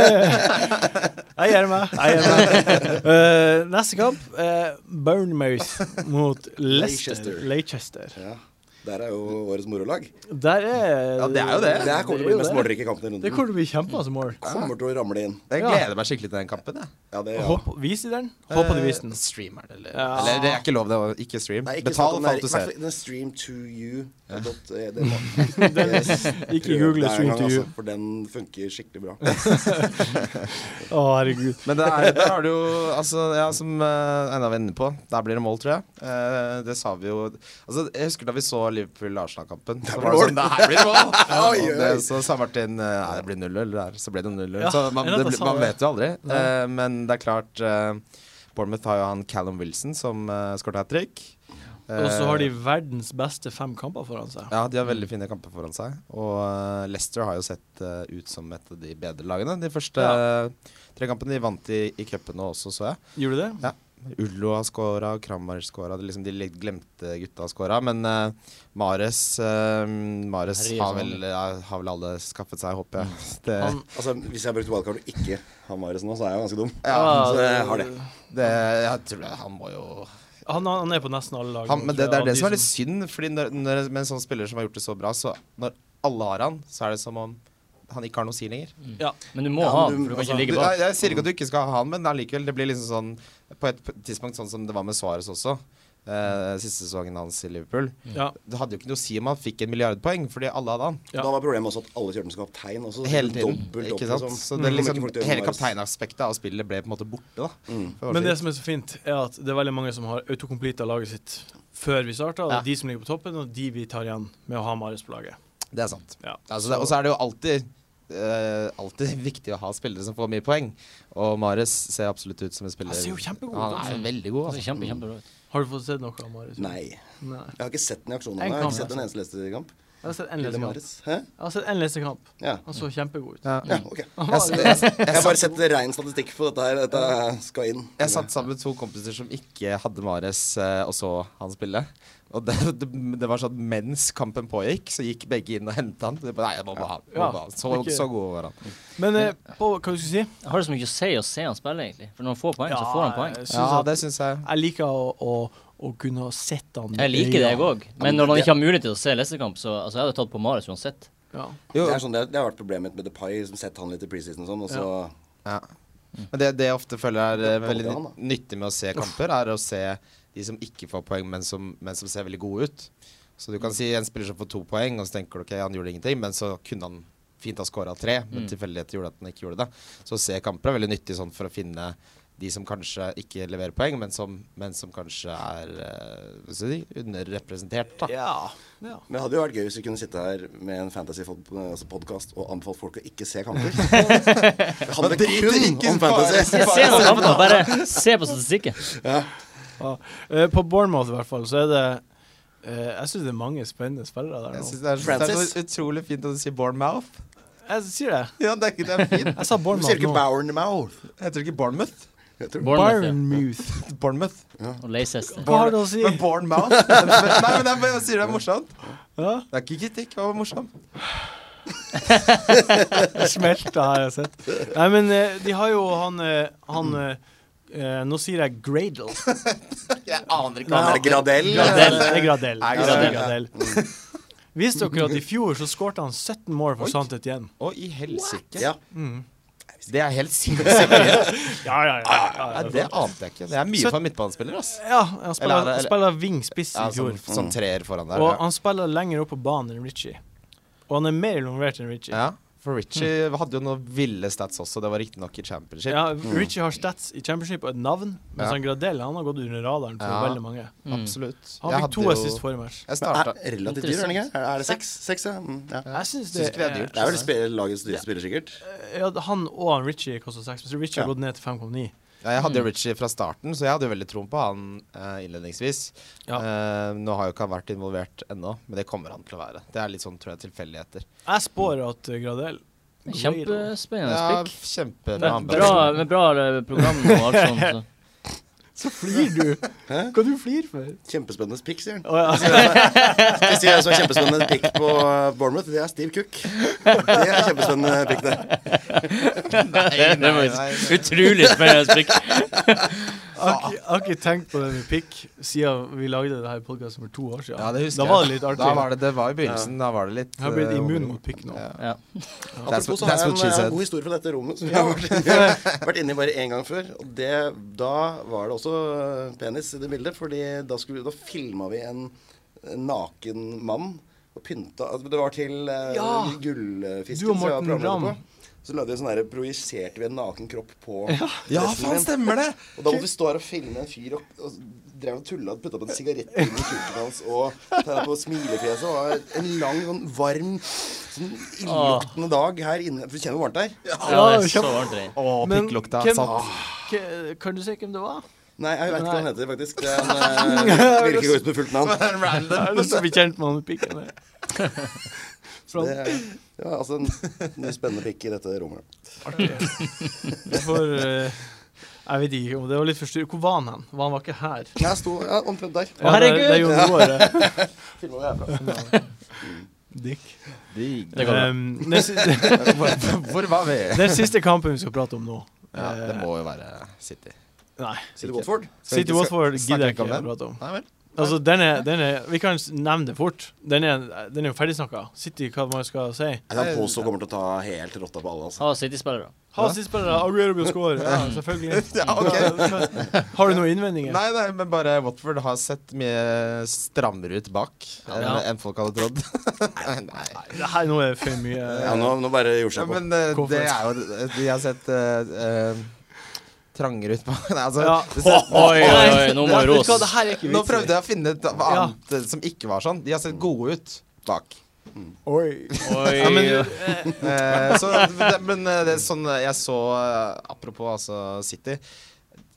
Eh, Jeg gir meg. Jeg gir meg. Eh, Neste kamp, eh, Bournemouth mot Leicester.
Leicester.
Leicester.
Ja. Der er jo årets morolag.
Der er
Ja, det er jo det.
Det her
Det er
kommer til å
jo
bli den mest
det.
målrike kampen i runden.
Det kommer til å bli kjempemasse mål.
kommer til å ramle inn.
Jeg
Ja.
gleder meg skikkelig til den kampen. Jeg.
Ja, det, ja.
Håp, vis i den. Håper de viser den.
Eh, Stream er det, eller,
Ja.
eller Det er ikke lov, det. å Ikke stream.
Nei, ikke
Betal
snakk om
for
det
alt
her.
du
I hvert
ser.
fall den stream to you. dot- eh, det
[LAUGHS]
må-
Ikke google
Det er en
'Stream2U'.
gang, altså, For den funker skikkelig
[LAUGHS]
bra.
Å, herregud.
Men det
[LAUGHS]
er, der har du jo altså, ja, Som uh, Einar var inne på, der blir det mål, tror jeg. Eh, det sa vi jo altså, Jeg husker da vi så Liverpool-Arsenal-kampen. Så var det sånn Der blir det mål!
Oi,
Og det,
oi.
så sa Martin eh, Nei, det blir 0-0 der. Så ble det 0-0.
Ja,
så man,
jeg vet han
det, blir-
sa
man
det.
vet jo aldri. Eh, men det er klart eh, Bournemouth har jo han Callum Wilson som uh, skåret hat trick.
Og så har de Mm. verdens beste fem kamper foran seg.
Eh, Ja, de har veldig fine kamper foran seg. Og eh, Leicester har jo sett eh, ut som et av de bedre lagene. De første
Ja.
eh, tre kampene de vant i, i cupen nå også, så jeg.
Gjorde de det?
Ullo har skåra, Kramar skåra. Liksom de litt glemte gutta har skåra. Men eh, Mares, eh, Mares
Herregud, som
har, vel, ja, har vel alle skaffet seg, håper jeg. Det,
sånn. Mm. Han-
Altså, Hvis jeg har brukt wildcard og ikke har Marius nå, så er jeg jo ganske dum.
Ja,
så jeg har det.
Ah, det, jeg tror han må jo
Han, han er på nesten alle lag.
han, Men det, det er det som er litt
sykt.
synd. Fordi når, når, med en sånn spiller som har gjort det så bra, så når alle har han, så er det som om han ikke har noe å si lenger.
Ja.
Men du må
Ja,
ha
men
den,
du-
for du kan
altså,
ikke ligge
Du,
bak.
jeg, jeg sier ikke at du ikke skal ha han, men allikevel. Det blir liksom sånn På et p- tidspunkt sånn som det var med Suárez også. eh, siste sesongen hans i Liverpool.
Ja.
Det hadde jo ikke noe å si om han fikk en milliardpoeng, fordi alle hadde han.
Ja.
Da var problemet også at alle kjørte den som kaptein. Også, så
Hele tiden.
Dobbelt opp,
ikke sant?
liksom.
Så det er
Mm.
liksom,
Kommer ikke folk til å gjøre
hele
noe annerledes.
kapteinaspektet av spillet ble på en måte borte. da
Mm.
For å
Men
si
det som er så fint, er at det er veldig mange som har autocomplete av laget sitt før vi starter. Og det
Ja.
er de som ligger på toppen, og de vi tar igjen med å ha Marius på laget.
Det er sant.
Ja.
Altså, det, og så er det jo alltid eh, alltid [LAUGHS] viktig å ha spillere som får mye poeng. Og Mares ser absolutt ut som en spiller.
Han ser jo kjempegod ut,
Han er
altså.
veldig god.
Det
Altså.
ser Kjempe, kjempebra ut.
Har du fått sett noe av Marius?
Nei.
Nei.
Jeg har ikke sett den i aksjonen.
En
Jeg har
kamp,
ikke sett
altså.
en eneste lesekamp.
Jeg har sett en
Lille
lesekamp.
Marius. Hæ?
Jeg har sett en lesekamp.
Ja.
Han så kjempegod ut.
Ja.
ja, ok.
Han [LAUGHS]
Jeg,
var-
jeg, jeg,
Jeg har bare sett rein statistikk på dette her. Dette skal inn.
Jeg satt sammen med to kompiser som ikke hadde Mares, eh, og så han spille. Og det, det, det var sånn mens kampen pågikk, så gikk begge inn og henta han. Det bare, Nei, jeg må bare ha han. må
Ja.
bare ha han. Så,
Ikke-
så god var han.
Men eh, på, hva du skulle du si?
Jeg har det så mye å si å se han spille, egentlig. For når han får poeng, så får han poeng.
jeg
Ja,
syns at
det syns jeg.
jeg liker å, å, å kunne ha sett han.
Jeg liker det, jeg òg. Men når han ikke har mulighet til å se lesekamp, så altså, jeg hadde tatt på Marius uansett.
Ja.
Jo,
Det, er sånn, det, det har vært problemet mitt med Depay, som sett han litt i preseason og sånn. Og så
ja. Men det, det jeg ofte føler er eh,
Det er
veldig
dårlig, han,
nytt- nyttig med å se kamper, er å se de som ikke får poeng, men som, men som ser veldig gode ut. Så du
Mm.
kan si en spiller som får to poeng, og så tenker du ok, han gjorde ingenting, men så kunne han fint ha skåra tre, men
Mm.
tilfeldigheter gjorde at han ikke gjorde det. Så å se kamper er veldig nyttig sånn for å finne de som kanskje ikke leverer poeng, men som, men som kanskje er eh, hva skal jeg si, underrepresentert. da.
Ja. ja.
Men det hadde jo vært gøy hvis vi kunne sitte her med en fantasy-podkast og anbefalt folk å ikke se
[LAUGHS]
kamper. Det handler kun om fantasy.
Se noen kamper, bare se på statistikken.
Eh, på Bournemouth i hvert fall, så er det eh, Jeg syns det er mange spennende spillere der
Jeg
nå.
syns det, er- det er
Francis?
så utrolig fint at du sier Bournemouth.
Jeg sier det.
Ja, det er ikke det er fint.
Jeg sa
Du sier
Bournemouth
ikke
nå.
Bournemouth.
Heter det ikke Bournemouth?
Jeg tror-
Bournemouth ja.
Bournemouth.
Bournemouth.
og Leicester.
Hva har det å si?
Men Bournemouth liksom. [LAUGHS] Nei, men jeg bare sier det er morsomt.
Ja?
Det er ikke kritikk, det var morsomt.
Jeg smelta, har jeg sett. Nei, men eh, de har jo han eh, Han eh, eh, Nå sier jeg Gradle.
Jeg aner ikke
hva
Er det Gradell?
Gradel. Det er Gradel.
Nei,
Det er
Gradel,
Gradel. Visste dere at i fjor så skårte han 17 mål for
Oi.
Santet igjen?
Å, i helsike.
Ja.
Det er helt sinnssykt mye.
Ja, ja,
Nei,
ja.
det ante jeg ikke. Det er mye
Så-
for en midtbanespiller, ass.
Ja, han
Eller er
spiller,
det- eller-
spiller wing spiss
Ja,
i fjor.
sånn, sånn treer foran der.
Mm. Og
ja.
han spiller lenger opp på banen enn Ritchie. Og han er mer involvert enn Ritchie.
Ja, for Richie hadde jo noen ville stats også. Det var riktignok i
Mm.
championship.
Ja, Ritchie har stats i championship og et navn, mens
Mm. Ja.
han Gradel han har gått under radaren for
Ja.
veldig mange.
Mm. Absolutt.
Mm. Han
Jeg
fikk to
hadde jo-
assist forrige match.
Jeg
Men
starta
Er relativt dyr, er den ikke? Er er det seks? Seks, ja. Mm, ja.
Jeg syns
Syns
det,
ikke det er dyrt.
Det er vel spe- lagets dyreste spiller, sikkert.
Ja, han og han Ritchie koster seks, men så Ritchie har
Ja.
gått ned til 5,9.
ja, Jeg hadde
Mm.
jo Richie fra starten, så jeg hadde jo veldig troen på han eh, innledningsvis. Eh, nå har jo ikke han vært involvert ennå, men det kommer han til å være. Det er litt sånn, tror jeg, tilfeldigheter.
Jeg spår at eh, Gradel
Kjempespennende
Ja,
pikk.
kjempebra.
Med bra, med bra eh, program og alt sånt. Så.
Så flir du! Hva
Hæ?
du flir for? Altså,
Kjempespennende pikk, sier han.
Å [LAUGHS] ja.
Jeg sier jeg som er kjempespennende pikk på eh, Bournemouth, det er Steve Cook. Det er kjempespennende pikk, det.
Det
nei,
var
nei.
Utrolig spennende pikk.
Jeg har ikke- jeg har ikke tenkt på det med pikk siden vi lagde det her podkasten for to år siden.
Ja, det husker
da var det
jeg.
litt artig.
Da var det, det var i begynnelsen. Da var det litt
Jeg har blitt
eh,
immun
over-
mot pikk nå.
Ja.
Ja.
That's
Apropos,
what-
så har
that's
jeg
what she
en eh,
said.
god historie fra dette
[LAUGHS]
rommet. Som jeg har vært, inne- vært inne i bare én gang før. Og det, da var det også eh, penis i det bildet, fordi da, skulle- da filma vi en en naken mann og pynta altså, Det var til eh,
Ja.
Gullfisken.
Du og
som jeg var
Morten
programleder
Ramm.
på. Så lagde vi en sånn der, projiserte vi en naken kropp på
Ja,
dressen
faen,
min.
stemmer det!
Og da måtte vi stå her og filme en fyr og, og drev og tulla og putta opp en sigarett inn i kuken hans og tegna på smilefjeset. Det var en lang, sånn varm, sånn illeluktende dag her inne. For du kjenner hvor varmt det er?
Ja, det er så varmt der.
Å,
Men
pikklukta
hvem-
satt.
K- Kan du si hvem det var?
Nei, jeg veit ikke hva han
Nei.
heter, faktisk. [LAUGHS] Det er en, eh, virker ikke å gå ut med fullt navn.
Jeg har lyst til å bli kjent med han med pikken. der. Fra-
Det, det var altså en, en spennende pikk i dette rommet.
[LAUGHS] For eh, Jeg vet ikke om det var litt forstyrrende. Hvor var han hen? Var han var ikke her?
Jeg sto ja, omtrent der.
Ja, det, det er jo noe
Filma det herfra.
Dick.
Det går bra.
Um, den, siste,
[LAUGHS] Hvor- Hvor var vi?
den siste kampen vi skal prate om nå
Ja, det
eh,
må jo være City.
Nei.
Sitter Watford.
City Watford gidder jeg ikke å
om den.
prate om.
Nei vel.
Altså, den er, den er, vi kan s- nevne det fort. Den er, den er jo ferdigsnakka. City, hva man skal si.
Han påstår kommer til å ta helt rotta på alle, altså.
Ha City-spillere.
Ha spillere, Aguero blir score. Ja, selvfølgelig. Har du noen innvendinger?
Nei, nei, men bare Watford har sett mye strammere ut bak enn
Ja.
enn folk hadde trodd. [LAUGHS] nei.
Det her nå er det for mye.
Ja, nå, nå bare gjorde
Ja,
seg på.
men eh,
Hvorfor?
det er jo De har sett eh, eh, trangere ut bak. [LAUGHS] Nei, altså
Ja.
det ser-
Oi, oi, oi, nå må
Vet du
Ros.
hva, det her er ikke
Nå
vits
prøvde jeg å finne ut hva annet eh, som ikke var sånn. De har sett gode ut
[LAUGHS]
bak.
Oi.
Oi,
Ja, men-
oi.
Eh, så, det- men eh, det er sånn eh, jeg så eh, Apropos altså City.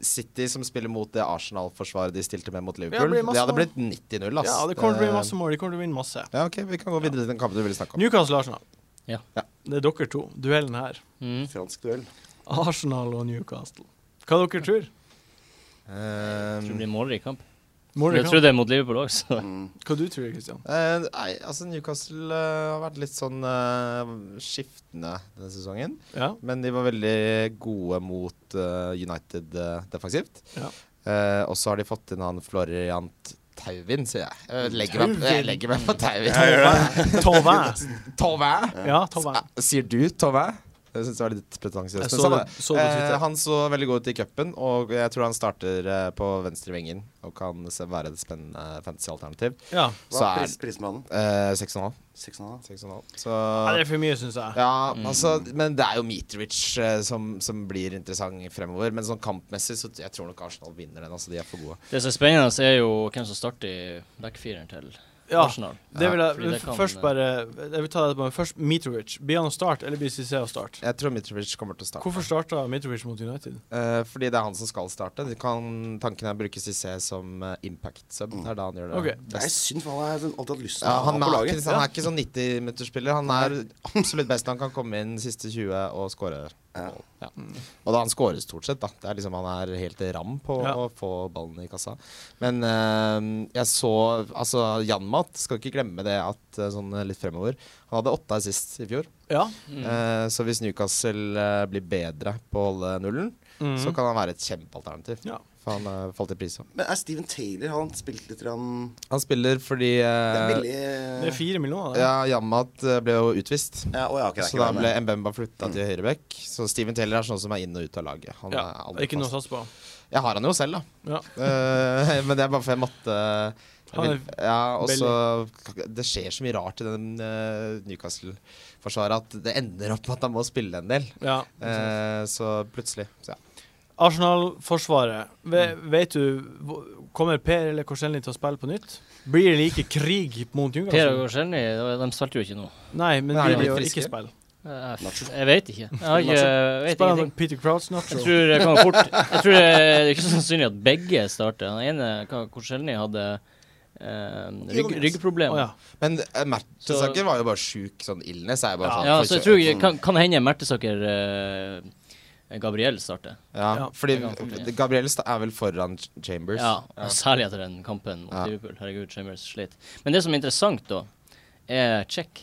City som spiller mot det Arsenal-forsvaret de stilte med mot
Ja, det
Liverpool.
blir
Det,
masse
hadde
mål.
blitt 90-0, ass. Eh,
Ja, det kommer til å bli masse mål. De kommer til å vinne masse.
Ja, ok, Vi kan gå videre til den kampen du ville snakke om.
Newcastle Arsenal.
Ja.
Ja.
Det er dere to. Duellen her.
Mm.
Fransk duell.
Arsenal og Newcastle. Hva dere tror?
Jeg tror det
Eh,
blir målrik kamp.
Mål i
Jeg
kamp?
tror det er mot Liverpool òg, så
Hva du tror du, Kristian?
eh, nei, altså Newcastle eh, har vært litt sånn eh, skiftende denne sesongen.
Ja.
Men de var veldig gode mot eh, United eh, defensivt.
Ja.
Eh, og så har de fått inn han Floriant Tauvin, sier jeg. Jeg legger meg, jeg
Tauvin.
legger meg på Tauvin.
Tauvin.
Tove?
Ja, Tauvin.
Sier du Tove? Det syns jeg var litt pretensiøst.
Jeg
Men
så
samme
det-
det.
så det på Twitter.
eh, han så veldig god ut i cupen, og jeg tror han starter eh, på venstre vengen og kan se- være et spennende eh, fantasy-alternativ.
Ja.
Så
Hva er
er
pris, prismannen?
eh, 6,5.
6,5?
6,5.
ja,
Så
det er for mye, syns jeg.
ja, altså, men det er jo Mitrovic eh, som, som blir interessant fremover. Men sånn kampmessig så jeg tror nok Arsenal vinner den. Altså, de er for gode.
Det som er spennende, er jo hvem som starter i backfireren til
Ja.
Arsenal.
Det vil jeg,
fordi det kan-
først bare Jeg vil ta det på men først Mitrovic. Blir han å starte, eller blir CC å starte?
Jeg tror Mitrovic kommer til å starte.
Hvorfor starta Mitrovic mot United?
Eh, fordi det er han som skal starte. De kan, tanken er å bruke Cissé som eh, impact sub. Det er da han gjør det
Ok.
Mm. Det er synd, for han har jeg alltid hatt lyst til
Ja,
å ha
han,
på
er ikke,
laget.
han er ikke sånn 90-minutterspiller. Han er absolutt best. Han kan komme inn siste 20 og skåre.
Ja.
Ja. Og da han skårer stort sett, da. Det er liksom, han er helt ram på
Ja.
å få ballen i kassa. Men eh, jeg så Altså, Janmat, skal ikke glemme det at eh, sånn litt fremover Han hadde åtte assist i fjor.
Ja.
Eh, så hvis Newcastle eh, blir bedre på å holde nullen,
Mhm.
så kan han være et kjempealternativ.
Ja.
For han eh, falt i pris òg.
Men er Steven Taylor har han spilt litt grann
Han spiller fordi
Det
eh,
er
Det
veldig
er fire millioner, det.
ja, Janmat eh, ble jo utvist.
ja, å, ja, ok, det er
Så
ikke
da
det, men-
ble Mbemba flytta til høyrebekk. Så Steven Taylor er sånn som er inn og ut av laget. Han
Ja,
er
det er
aldri
ikke noe å
fast.
satse på.
Jeg har han jo selv, da.
Ja.
Eh, [LAUGHS] men det er bare for jeg måtte
Han er
ja, og så Det skjer så mye rart i den eh, Newcastle-forsvaret at det ender opp med at han må spille en del.
ja.
Eh, så plutselig. Så ja.
Arsenal-forsvaret. Ve-
Mm.
Vet du hvor- Kommer Per eller Korselny til å spille på nytt? Blir det like krig mot
Per og
Newcastle?
Gorselny, de spilte jo ikke nå.
Nei, men
Nei,
blir
de
de
er
å
friske.
ikke spille?
Jeg,
Nacho.
jeg vet ikke. Jeg, har ikke- jeg vet
Spiller han
ingenting.
med Peter Crouch Nacho?
Jeg tror, det kan gå fort, jeg tror det er ikke så sannsynlig at begge starter. Den ene, Korselny, hadde eh, rygg,
Å,
ryggproblemer.
ja.
Men uh, Mertesaker var jo bare sjuk sånn illness. Er jo bare
ja.
sånn,
så jeg
forkjørt.
tror jeg, kan, kan hende Mertesaker eh, Gabriel starter.
ja,
Ja,
fordi
det kan fort bli.
Gabriel Sta- er vel foran Ch- Chambers.
Ja, og Særlig etter den kampen mot
Ja.
Liverpool. Herregud, Chambers slet. Men det som er interessant, da, er Check.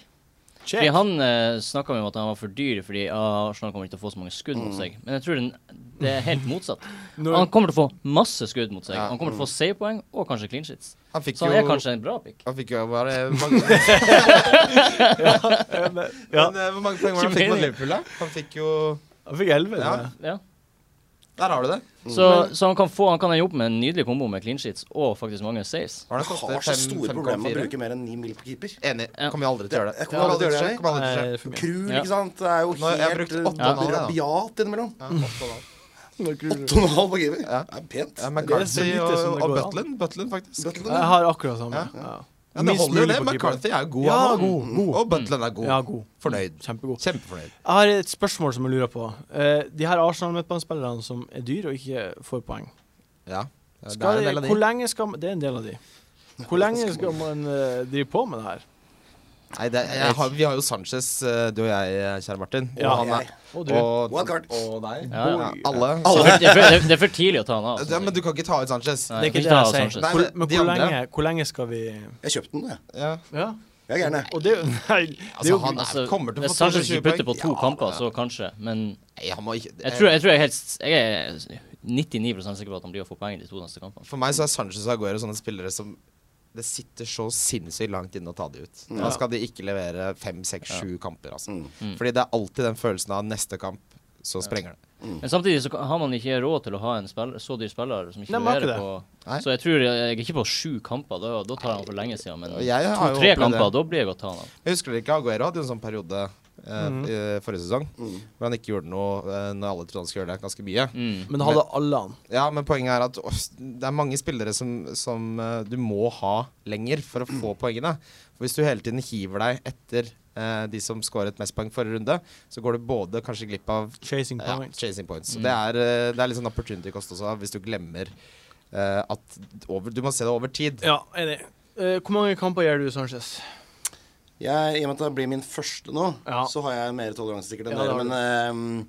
Check.
Fordi Han uh, snakka om at han var for dyr fordi ah, Arsenal kommer ikke til å få så mange skudd
Mm.
mot seg. Men jeg tror den, det er helt
[LAUGHS]
motsatt.
Når-
Han kommer til å få masse skudd mot seg.
Ja.
Han kommer til å få seierpoeng og kanskje clean sheets.
Han fikk
Så han er
jo
kanskje en bra pick.
Han fikk jo bare mange, [LAUGHS]
Ja.
men, eh, Hvor mange poeng var
Ikke
det han fikk mot
meningen.
Liverpool, da? Han fikk jo
Han fikk elleve.
Ja.
det.
Ja.
Der har du det.
Så, så han kan få Han kan ende opp med en nydelig kombo med clean sheets og faktisk mange saves.
Var det
Jeg
koster
har så store problemer med å
5,4?
bruke mer enn ni mil på keeper.
Enig.
Ja.
Kommer jeg aldri til å gjøre det.
Jeg kommer aldri til å gjøre det.
Kommer aldri til
Nei,
å gjøre det.
det er for mye.
Krul,
Ja.
ikke sant. Det er jo
Nå har jeg
helt
brukt
eh,
åtte og en halv, ja.
rabiat innimellom.
Ja, åtte og en halv.
8,5 på keeper.
Ja.
Det er pent.
Det
Ja,
er så
McCarthy
lite
og,
som det
og
går an.
Butlin, Butlin faktisk.
Butland,
Jeg har akkurat samme.
Ja.
Ja.
Ja, det
Minst
holder jo
mulig
det.
på keeper.
McCarthy er god,
Ja,
han også.
god, god.
Og Butlin er god.
Ja, god.
Fornøyd.
Kjempegod.
Kjempefornøyd.
Jeg har et spørsmål som jeg lurer på. Eh, de her Arsenal-midtbanespillerne som er dyre og ikke får poeng.
Ja. Ja, Det
Skal
er en del
de,
av de.
hvor lenge skal man, Det er en del av de. Hvor lenge skal man eh, drive på med det her?
Nei, det, er- jeg har, vi har jo Sanchez, eh, du og jeg, kjære Martin. Og
Ja,
han er
jeg.
Og du?
Og,
Wildcard.
og deg.
Ja, ja.
Ja, alle.
Det er, for, det, er for, det er- det er for tidlig å ta han av. altså.
Ja, men du kan ikke ta ut Sanchez.
det er
Nei, vi
ikke det
tar
jeg sier.
Sanchez.
Nei,
Hvor,
men
men
de
hvor
andre-
lenge, hvor lenge skal vi
Jeg kjøpte den, jeg.
Ja.
Ja.
Jeg er gæren, jeg.
Og det [LAUGHS] Nei.
Altså, han er,
Altså,
kommer til å
hvis
få
Sanchez ikke
220 poeng.
putter på to
Ja,
kamper,
ja.
så kanskje. Men
Nei, han må ikke
jeg tror jeg, tror jeg, er helt, s- jeg er 99 sikker på at han blir å få poeng de to neste kampene.
Eh, For meg så er Sanchez og Aguero sånne spillere som det sitter så sinnssykt langt inne å ta de ut. Da
Ja.
skal de ikke levere fem, seks, sju kamper. Altså.
Mm.
Fordi det er alltid den følelsen av neste kamp, så sprenger det.
Men samtidig så kan- har man ikke råd til å ha en spiller, så dyr spiller som ikke
Nei, man har
leverer
ikke
på
Nei.
Så jeg tror jeg, jeg er ikke på sju kamper. Da, da tar han for lenge siden. Men
Og jeg har jo
to-tre
opplevd det.
kamper, da blir jeg godt ta han av.
Jeg husker dere ikke Aguero hadde jo en sånn periode eh,
Mhm.
i forrige sesong
Mm.
hvor han ikke gjorde noe eh, når alle trodde han skulle gjøre det ganske mye.
Mm.
Men hadde alle han?
Ja, men poenget er at åh, det er mange spillere som, som eh, du må ha lenger for å få poengene. For hvis du hele tiden hiver deg etter eh, de som skåret mest poeng forrige runde, så går du både kanskje glipp av
Chasing
Ja,
points.
chasing points. Så
Mm.
Det, er, eh, det er litt sånn opportunity cost også, hvis du glemmer eh, at over, Du må se det over tid.
Ja, enig. Eh, hvor mange kamper gjør du, Sanchez?
Jeg, I og med at det blir min første nå,
Ja.
så har jeg mer toleranse sikkert enn
Ja, det
dere.
har
Men ehm,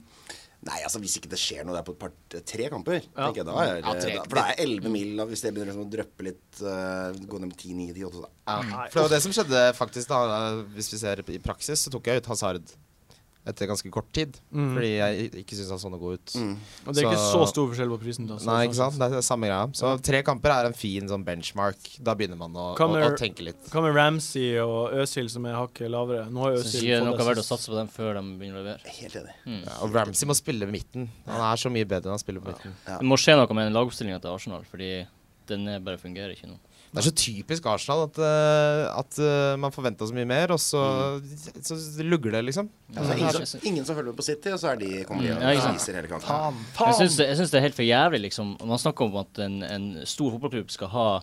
Nei, altså hvis ikke det skjer noe der på et par tre kamper,
Ja.
tenker jeg da er
Ja, tre-
da, For det er 11 mil, og hvis det begynner liksom å dryppe litt, eh, gå ned med 10, 9, 10, 8 så da.
altså.
Ja. For det var det som skjedde, faktisk. da eh, Hvis vi ser i praksis, så tok jeg ut Hazard. etter ganske kort tid.
Mm.
Fordi jeg ikke syns han så noe god ut.
Mm.
Og det er ikke
så-
så stor forskjell på prisen. da så-
Nei, ikke sant? Det er samme greia. Så tre kamper er en fin sånn benchmark. Da begynner man å, å,
Kommer-
å tenke litt.
Hva med Ramsey og Øzil, som er hakket lavere? Nå har
Jeg
Øzil
synes ikke det er noe verdt å
sist.
satse på dem før de begynner å levere.
Helt enig.
Mm.
Ja, og Ramsey må spille med midten. Han er så mye bedre enn han spiller på midten.
Det må skje noe med den lagoppstillinga til Arsenal, fordi den er bare fungerer ikke nå.
Det er så typisk Arsenal at, eh, at eh, man forventa så mye mer, og så, så lugger det, liksom.
Ja, så er det Altså, ingen,
Ja.
som, ingen som følger med på City, og så er de, kommer de
Mm,
og
ja, ikke sant.
spiser hele kampen.
Faen!
Jeg syns, det- jeg syns det er helt for jævlig, liksom. Man snakker om at en, en stor fotballklubb skal ha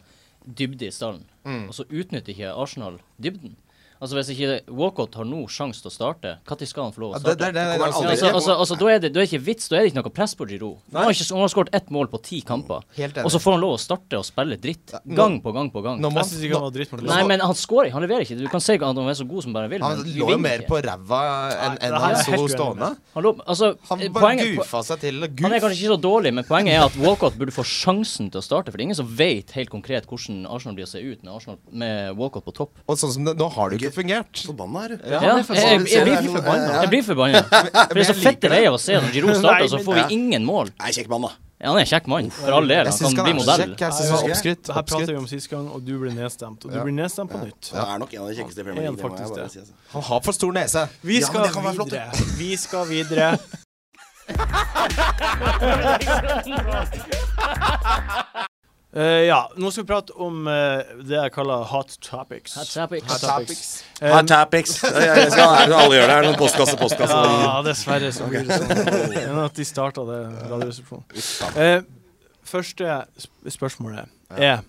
dybde i stallen,
Mm.
og så utnytter ikke Arsenal dybden. Altså Hvis ikke Walcott har nå sjanse til å starte, når skal han få lov
Ja,
å
det,
starte?
Det kommer
det, det, det, det,
Ja,
aldri.
det,
altså, altså, altså, da, er det, da er det ikke vits, da er det ikke noe press på Giroud. Han har, ikke, han har skåret ett mål på ti kamper,
Helt
og så
enig.
får han lov å starte å spille dritt
nå-
gang på gang på gang.
Nå må
Jeg synes ikke han var
nå-
drittmål.
Nei, men han skårer ikke, han leverer ikke. Du kan si at han er så god som bare vil,
han
men vi
lå jo
vinner
mer
ikke.
på ræva enn
Nei, det
enn
her er
han
helt
så
uenig
stående.
Han lå, altså,
Han
eh,
bare
poenget-
goofa seg til. og
Han er
Goof.
kanskje ikke så dårlig, men poenget er at Walcott burde få sjansen til å starte. For det er ingen som vet helt konkret hvordan Arsenal blir å se ut med, Arsenal, med Walcott på topp.
Og sånn som det, nå har det jo ikke fungert.
Forbanna er du.
Ja,
Ja,
det
jeg, jeg, jeg, blir forbanna. Jeg blir forbanna.
[LAUGHS]
For det er så
jeg
fette
liker det.
veier å se når Giroud starter,
Nei,
og så
men-
får vi ingen mål.
Nei, kjekk mann, da.
Ja, han er en kjekk mann, for all del.
Jeg
Han
syns
kan bli
han er så
modell.
kjekk. Jeg synes han er oppskrytt.
Det her prater vi
oppskrytt.
om sist gang, og du ble nedstemt. Og du blir nedstemt på nytt.
Han er nok en av de kjekkeste i Premier
Han er
League. Det må jeg
faktisk
bare
det.
si. Altså.
Han har for stor nese.
Vi
Ja,
skal
men det kan være flott,
videre. Vi skal
[LAUGHS]
videre. Eh, ja, nå skal vi prate om eh, det jeg kaller hot topics.
Hot topics.
Hot topics. Eh,
Hot Altså, topics. [LAUGHS] Ja, ja, jeg skal, alle gjør det. Er det noen postkasse, postkasse?
Ja, dessverre så blir
[LAUGHS]
det sånn. Enn at de starta det Radioresepsjonen. Eh, første sp spørsmålet er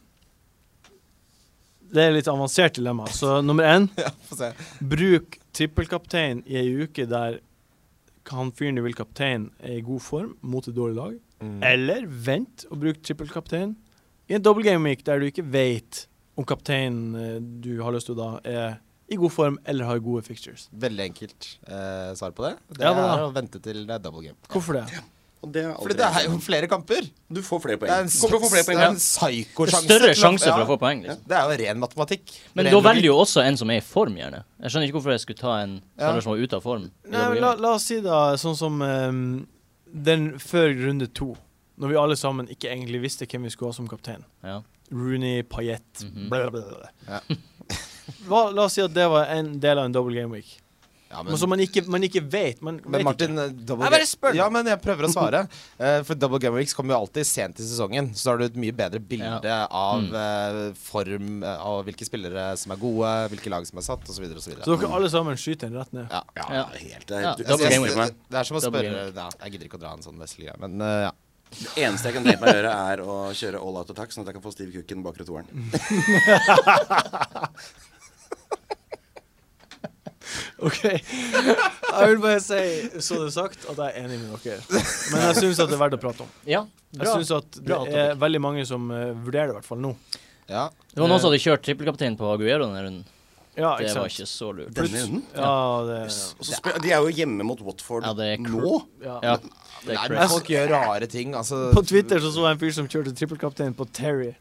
Det er litt avansert dilemma. Så nummer én
Få se.
Bruk trippelkaptein i ei uke der han fyren du vil kaptein, er i god form mot et dårlig lag. Eller vent og bruk trippelkaptein i en double game week der du ikke vet om kapteinen eh, du har lyst til da, er i god form eller har gode fixtures.
Veldig enkelt eh, svar på det. Det
Ja, hva da?
er å vente til det er double game.
Hvorfor det?
Og det er
Fordi
aldri
det er jo flere kamper.
Du får flere
Det er en,
poeng. Kommer til å få flere
det er
poeng.
en
Det
psykosjanse.
er større
til å-
sjanse for
ja.
å få poeng. liksom.
Det er jo ren matematikk.
Men
Ren
da
logikk.
velger jo også en som er i form, gjerne. Jeg skjønner ikke hvorfor jeg skulle ta en
Ja.
spiller som var ute av form. i
Nei, men
WM.
la, la oss si da sånn som ehm, den før runde to, når vi alle sammen ikke egentlig visste hvem vi skulle ha som kaptein.
Ja.
Rooney, Payet,
Mhm.
bla, bla, bla.
Ja.
[LAUGHS] Hva- La oss si at det var en del av en double game week.
ja,
Men, så man ikke, man ikke vet. Man
Men
vet
Martin,
ikke.
eh, double
Jeg bare spør.
Ja, men jeg prøver å svare. Eh, for double game weeks kommer jo alltid sent i sesongen. Så har du et mye bedre bilde av
Mm.
eh, form, eh, av hvilke spillere som er gode, hvilke lag som er satt, osv. osv.
Så dere alle sammen skyter den rett ned.
Ja.
Ja, helt det er
Ja.
helt-
Double
Jeg-
game week,
jeg-
Det er som å
Double
spørre
game
ja, Jeg gidder ikke å dra en sånn Wesley-greie, men eh, ja.
Det eneste jeg kan tenke meg å gjøre, er å kjøre all out attack, sånn at jeg kan få Steve Cooken bakre toeren.
[LAUGHS] OK. Jeg vil bare si, så det er sagt, at jeg er enig med dere. Men jeg syns at det er verdt å prate om.
ja.
Jeg
Bra.
syns at det
Bra topic.
er veldig mange som eh, vurderer det, i hvert fall nå.
ja.
Det var noen som hadde kjørt trippelkaptein på Aguero denne runden.
Ja,
Det
ikke
var
sant.
ikke så lurt.
Denne runden?
Ja, det
Og så spør, de er jo hjemme mot Watford
Ja, det er cr-
nå.
ja.
Ja, det
Nei,
er
men
crazy.
folk gjør rare ting. Altså,
På Twitter så så jeg en fyr som kjørte trippelkaptein på Terry.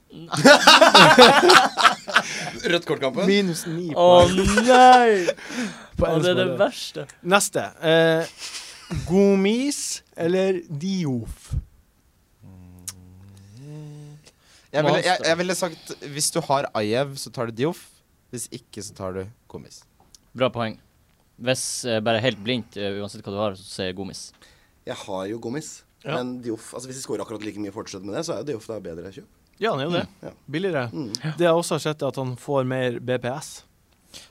Rødt kort-kampen.
Minus ni
Å
på,
nei!
på
Å, det er det
engelskmålet.
verste.
Neste. Eh, Gomis eller Diof?
jeg, ville, jeg, jeg ville sagt hvis du har Ajev, så tar du Dioff. Hvis ikke, så tar du Komis.
Bra poeng. Hvis eh, bare helt blindt, eh, uansett hva du har, så sier jeg Gomis.
Jeg har jo Gommis.
Ja.
Men Dioff altså Hvis de skårer akkurat like mye fortsatt med det, så er jo Dioff da bedre kjøp.
Ja, han er jo det.
Mm,
Ja.
Billigere. Det jeg også har sett, er at han får mer BPS.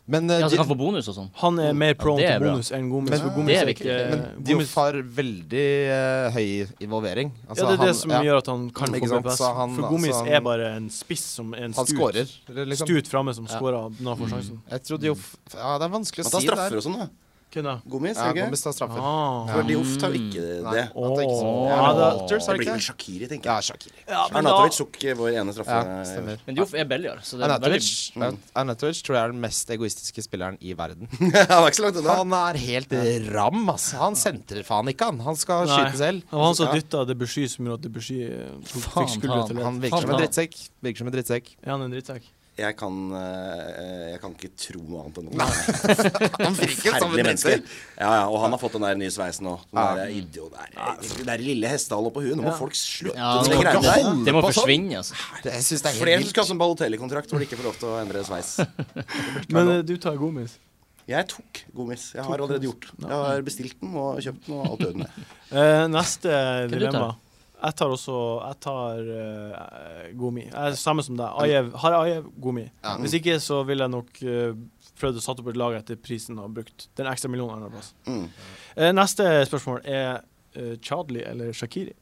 Men eh,
Ja, så
Di-
kan han få bonus og sånn.
Han er mer prone
det
til
er bra.
bonus enn Gomis.
Mm. Men-
for Gomis
det er
er
viktig.
ikke,
Men
eh, Gomis,
Dioff har veldig eh, høy involvering. Altså,
ja, det er det som
ja,
gjør at han kan få
Ikke sant,
BPS.
så han-
for Gomis
så han-
er bare en spiss som er en
Han
stut,
scorer, eller liksom.
stut framme som
Ja.
scorer når
Mm.
han får sjansen.
Jeg tror Dioff Ja, det er vanskelig å
Han tar
si
straffer
der.
og sånn, da.
Hvem da?
Gommis,
Ja,
er det
Gomis
ikke?
tar straffer.
Ah.
For Dioff tar jo ikke det.
Nei, han tar ikke sånn.
Åh.
Ja,
Ja,
men
da-
Walters,
Det blir
er
vel
det ikke?
Shakiri, tenker jeg.
Ja, Shakiri.
Ja, men da,
Arnatovic tok eh, vår ene straffe.
Ja,
[LAUGHS]
stemmer.
Men Dioff er billigere, så altså. det er veldig
Arnatovic Arnatovic tror jeg er den mest egoistiske spilleren i verden.
Han var ikke så langt unna.
Han er helt ram, ass. Han sentrer faen ikke, han. Han skal
Nei.
skyte selv.
det var han som
Ja.
dytta Debussy, som gjorde at Debussy eh, tok-
Faen,
fikk skuldra
han-
til
Han
ledd.
virker som en
Faen.
drittsekk. Virker som en drittsekk.
Er han en drittsekk?
Jeg kan, eh, jeg kan ikke tro noe annet enn det.
[LAUGHS] Han virker
Forferdelige
som en
mennesker.
menneske.
Ja, ja, og han har fått den der nye sveisen òg. Den der idiot der, den der lille hestehalen oppå huet. Nå må folk slutte
Ja,
med
det
de
må
greiene
ikke
der.
holde
Det må
på sånn.
forsvinne, altså.
Det, jeg syns det er
Flere
helt
skal ha
vilt.
sånn ballotelli-kontrakt hvor de ikke får lov til å endre sveis.
Men eh, du tar gomis.
Jeg tok Gomis. Jeg har allerede gjort den. Jeg har bestilt den og kjøpt den og alt ødende.
Eh, neste
du
dilemma.
tar?
Jeg tar også Jeg tar eh, gomi. Jeg er samme som deg. Ajev, har jeg Ajev, gomi.
Ja.
Hvis ikke så ville jeg nok eh, prøvd å satt opp et lag etter prisen og brukt den ekstra millionen andre plass.
Mm.
Eh, neste spørsmål er eh, Chadli eller Shakiri.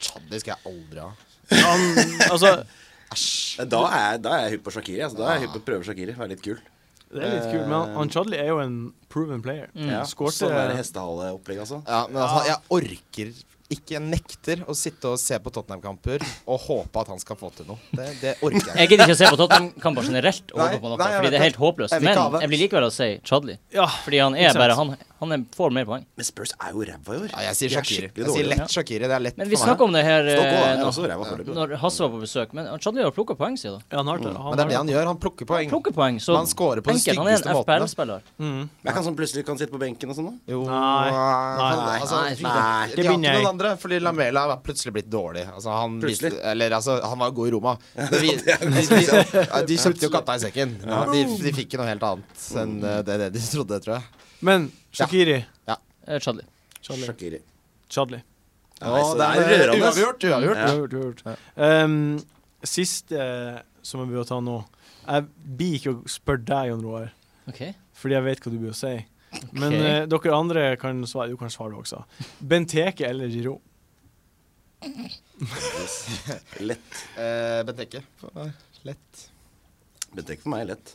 Chaddi skal jeg aldri ha.
Han, altså,
Da er, da er jeg hypp på Shakiri. Altså. Da er jeg hypp på å prøve Shakiri. Være litt kul.
det er litt kult, men han,
Eh.
han Chadli er jo en proven player.
Ja,
Skårte-
Sånn der hestehaleopplegg, altså.
Mm. Ja, men altså, jeg orker ikke Jeg nekter å sitte og se på Tottenham-kamper og håpe at han skal få til noe. Det, det orker jeg ikke.
Jeg gidder ikke å se på Tottenham-kamper generelt og
Nei,
håpe på noe,
nei, jeg
fordi det
vet
er
det.
helt håpløst.
Jeg vil ikke ha
Men
det.
jeg blir likevel å si Chadli.
Ja,
Fordi han
Ikke
er
sant?
bare Han, han er, får mer poeng.
Men Spurs er jo ræva i år.
Ja, jeg sier
De er
Shakiri.
skikkelig
Jeg sier
dårlige.
lett Shakiri. Det er lett
Men vi snakka om det her
Stokk også,
eh,
han er også
når,
ræva foreløpig.
når Hasse var på besøk, men eh, Chadli har plukka poeng siden.
ja, han har det.
Mm. Men det er det han gjør. Han plukker poeng.
Plukker poeng, så
Han scorer på de
enkelt. Han er
styggeste
en
måtene.
FPL-spiller.
Jeg kan sånn plutselig kan sitte på benken og sånn. da.
Jo,
Nei,
han-
nei,
altså,
nei,
de-
nei, det
De har ikke
begynner jeg.
noen andre, fordi Lamela har plutselig blitt dårlig. Altså, han,
Plutselig?
viste- eller, altså, han var jo god i
[LAUGHS]
Roma. Men vi, de, de, de kjøpte jo katta i sekken. De, de fikk ikke noe helt annet enn
Mm.
eh, det, det de trodde, tror jeg.
Men Shakiri
Eh, Chadli.
Chadli.
Shakiri.
Chadli.
Nei, så
Og Sånn, det er
rørende.
uavgjort, uavgjort.
Du har gjort, du har gjort. Ehm, siste som jeg bør ta nå Jeg blir ikke å spørre deg, Jon Roar,
OK.
fordi jeg vet hva du bør si. Men eh, dere andre kan svare. Du kan svare, du også. Benteke eller Giro?
Lett.
Eh, Benteke. Lett.
Bentek for meg er lett.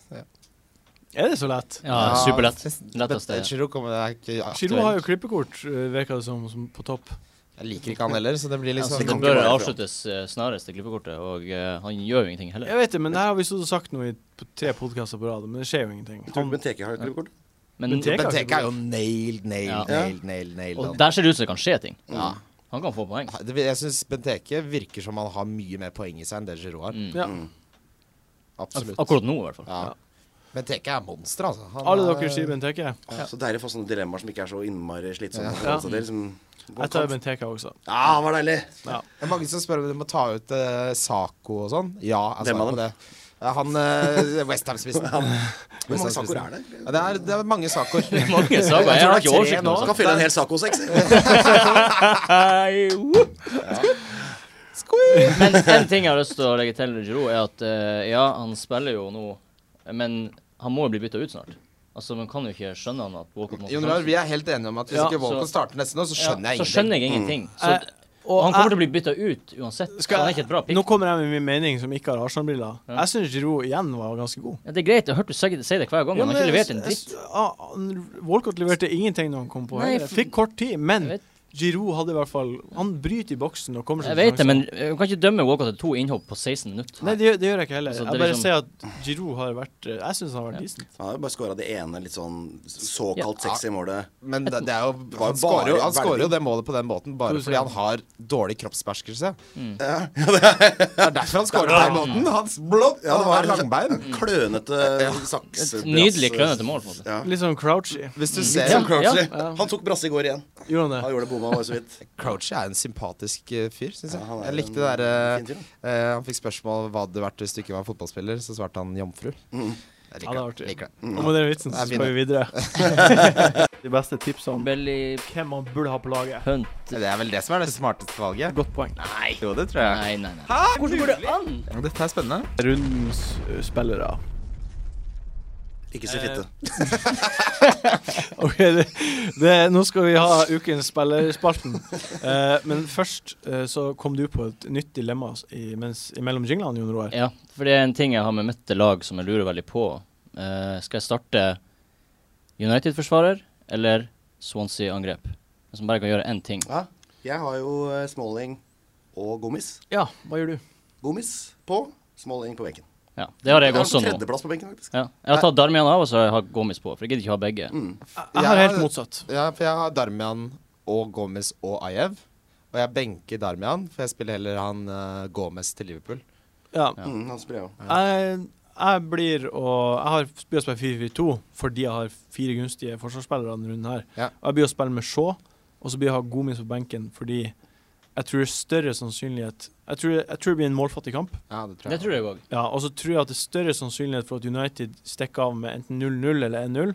Er det så lett?
Ja, superlett. Lettest
Bente-
det.
Giroud kommer det er ikke
Giro har
aktuelt.
jo klippekort, eh, virker det som, som på topp.
Jeg liker ikke han heller, så det blir
Altså,
liksom
det bør avsluttes eh, snarest, det klippekortet, og eh, han gjør jo ingenting
Jeg
heller.
vet det, men det her har vi stått og sagt nå i p- tre podkaster på rad, men det skjer jo ingenting.
Tror
Han,
du Benteke har et klippekort?
Men,
Benteke-
Benteke er jo nailed, nailed,
Ja.
nailed, nailed. nailed.
og der ser det ut som det kan skje ting.
Ja.
Han kan få poeng.
Det, jeg syns Benteke virker som han har mye mer poeng i seg enn det Giroud har.
Mm.
ja.
Absolutt.
Akkurat nå, i hvert fall.
Ja. Benteke er monster, altså. Han
Alle
er-
dere sier Benteke.
Åh, Så deilig å få sånne dilemmaer som ikke er så innmari slitsomme.
Ja.
å forholde seg til, liksom.
Jeg tar Benteke også.
Ja, det var deilig!
Det er mange som spør om du må ta ut eh, Sako og sånn. Ja, jeg
Hvem
svarer
av
på
dem?
det. Ja, Han uh, [LAUGHS] Westham-spissen.
Hvor mange saker er det?
Ja, det, er, det er mange Sakoer.
[LAUGHS] Mange saker. Jeg har ikke oversikt nå.
Du kan fylle en hel Saco-sekk.
Hei, whoop. Men en ting jeg har lyst til å legge til Giroud, er at eh, ja, han spiller jo nå, men han må jo bli bytta ut snart. Altså, Man kan jo ikke skjønne han at Walcott må få
Jon Rar, vi er helt enige om at hvis
Ja,
ikke Walcott
så-
starter neste nå, så
Ja,
skjønner
Så
jeg ingenting.
skjønner jeg ingenting. Så,
Eh,
og han
jeg-
kommer til å bli bytta ut uansett.
Skal
så han er ikke et bra pick.
Nå kommer jeg med min mening, som ikke har Arsenal-briller.
Ja.
Jeg syns Giro igjen var ganske god.
Ja, det er greit, jeg har hørt du si si det hver gang, men han har ikke levert en dritt.
Walcott leverte ingenting når han kom på.
Nei,
høyre.
for-
Fikk kort tid, men
Jeg vet-
Giroud hadde i hvert fall Han bryter i boksen og kommer
Jeg
til
vet det,
sjansen.
men eh, du kan ikke dømme Walcott til to innhopp på 16 minutter.
Nei, det, gjør- det gjør jeg ikke heller.
Altså, det
Jeg
er
bare
liksom-
sier at Giroud har vært eh, Jeg syns han har vært decent.
Han har jo bare skåra det ene litt sånn såkalt
Ja.
sexy målet.
Men det, det er jo,
var
han skårer jo,
bare
han scorer jo
veldig-
det målet på den måten bare fordi han har dårlig kroppsbeherskelse.
Mm.
Det er derfor han scorer på den måten. Han blått,
Ja, det
han
var sånn
har langbein.
Klønete saks.
Et nydelig klønete mål. på en måte.
Ja.
Litt sånn crouchy.
Hvis du
Det
ser
er sånn Crouchley.
Mm. Ja,
ja.
Han tok brasse i går igjen.
Gjorde han det?
Han gjorde det bomma bare så vidt.
Crouchy er en sympatisk eh, fyr, syns jeg.
Ja, han er
jeg likte det
en
derre
fin fyr,
Han fikk spørsmål hva det hadde vært hvis du ikke var fotballspiller, så svarte han jomfru.
Mm.
Jeg
Ja, det er
liker det.
artig.
Liker det.
Og med den vitsen så
Jeg
skal vi videre. De beste tipsene
Belly
hvem man burde ha på laget.
punt.
Det er vel det som er det smarteste valget.
Godt poeng.
Nei. Jo, det tror jeg.
Nei, nei, nei. Hvordan går det an?
Dette er spennende.
Rundens eh, spillere.
Ikke si fitte.
Ok, det, det, Nå skal vi ha ukens spillerspalten. Eh, men først eh, så kom du på et nytt dilemma s- i, mens, imellom jinglene, Jon Roar.
Ja, for det er en ting jeg har med mitt lag som jeg lurer veldig på. Eh, skal jeg starte United-forsvarer eller Swansea-angrep? Som bare kan gjøre én ting.
Ja, jeg har jo eh, Smalling og Gomis.
Ja, hva gjør du?
Gomis på, Smalling på benken.
Ja, Det har jeg
Jeg har
også
på
nå.
tredjeplass på benken, faktisk.
Ja. Jeg har tatt Darmian av, og så har jeg hatt Gomis på. For jeg gidder ikke ha begge.
Mm.
Jeg har
Ja,
helt motsatt.
Ja, for jeg har Darmian og Gomez og Ajev. Og jeg benker Darmian, for jeg spiller heller han uh, Gomez eh, til Liverpool.
Ja.
Ja.
Mm, han spiller jeg òg.
Jeg, jeg blir å Jeg har begynt å spille 4-4-2 fordi jeg har fire gunstige forsvarsspillere denne runden her.
Ja.
Og jeg blir å spille med Shaw, og så blir jeg å ha Gomis på benken fordi jeg tror det er større sannsynlighet Jeg tror, jeg tror det blir en målfattig kamp.
Ja, det tror
Det
jeg.
tror jeg òg.
Ja, og så tror jeg at det er større sannsynlighet for at United stikker av med enten 0-0 eller 1-0,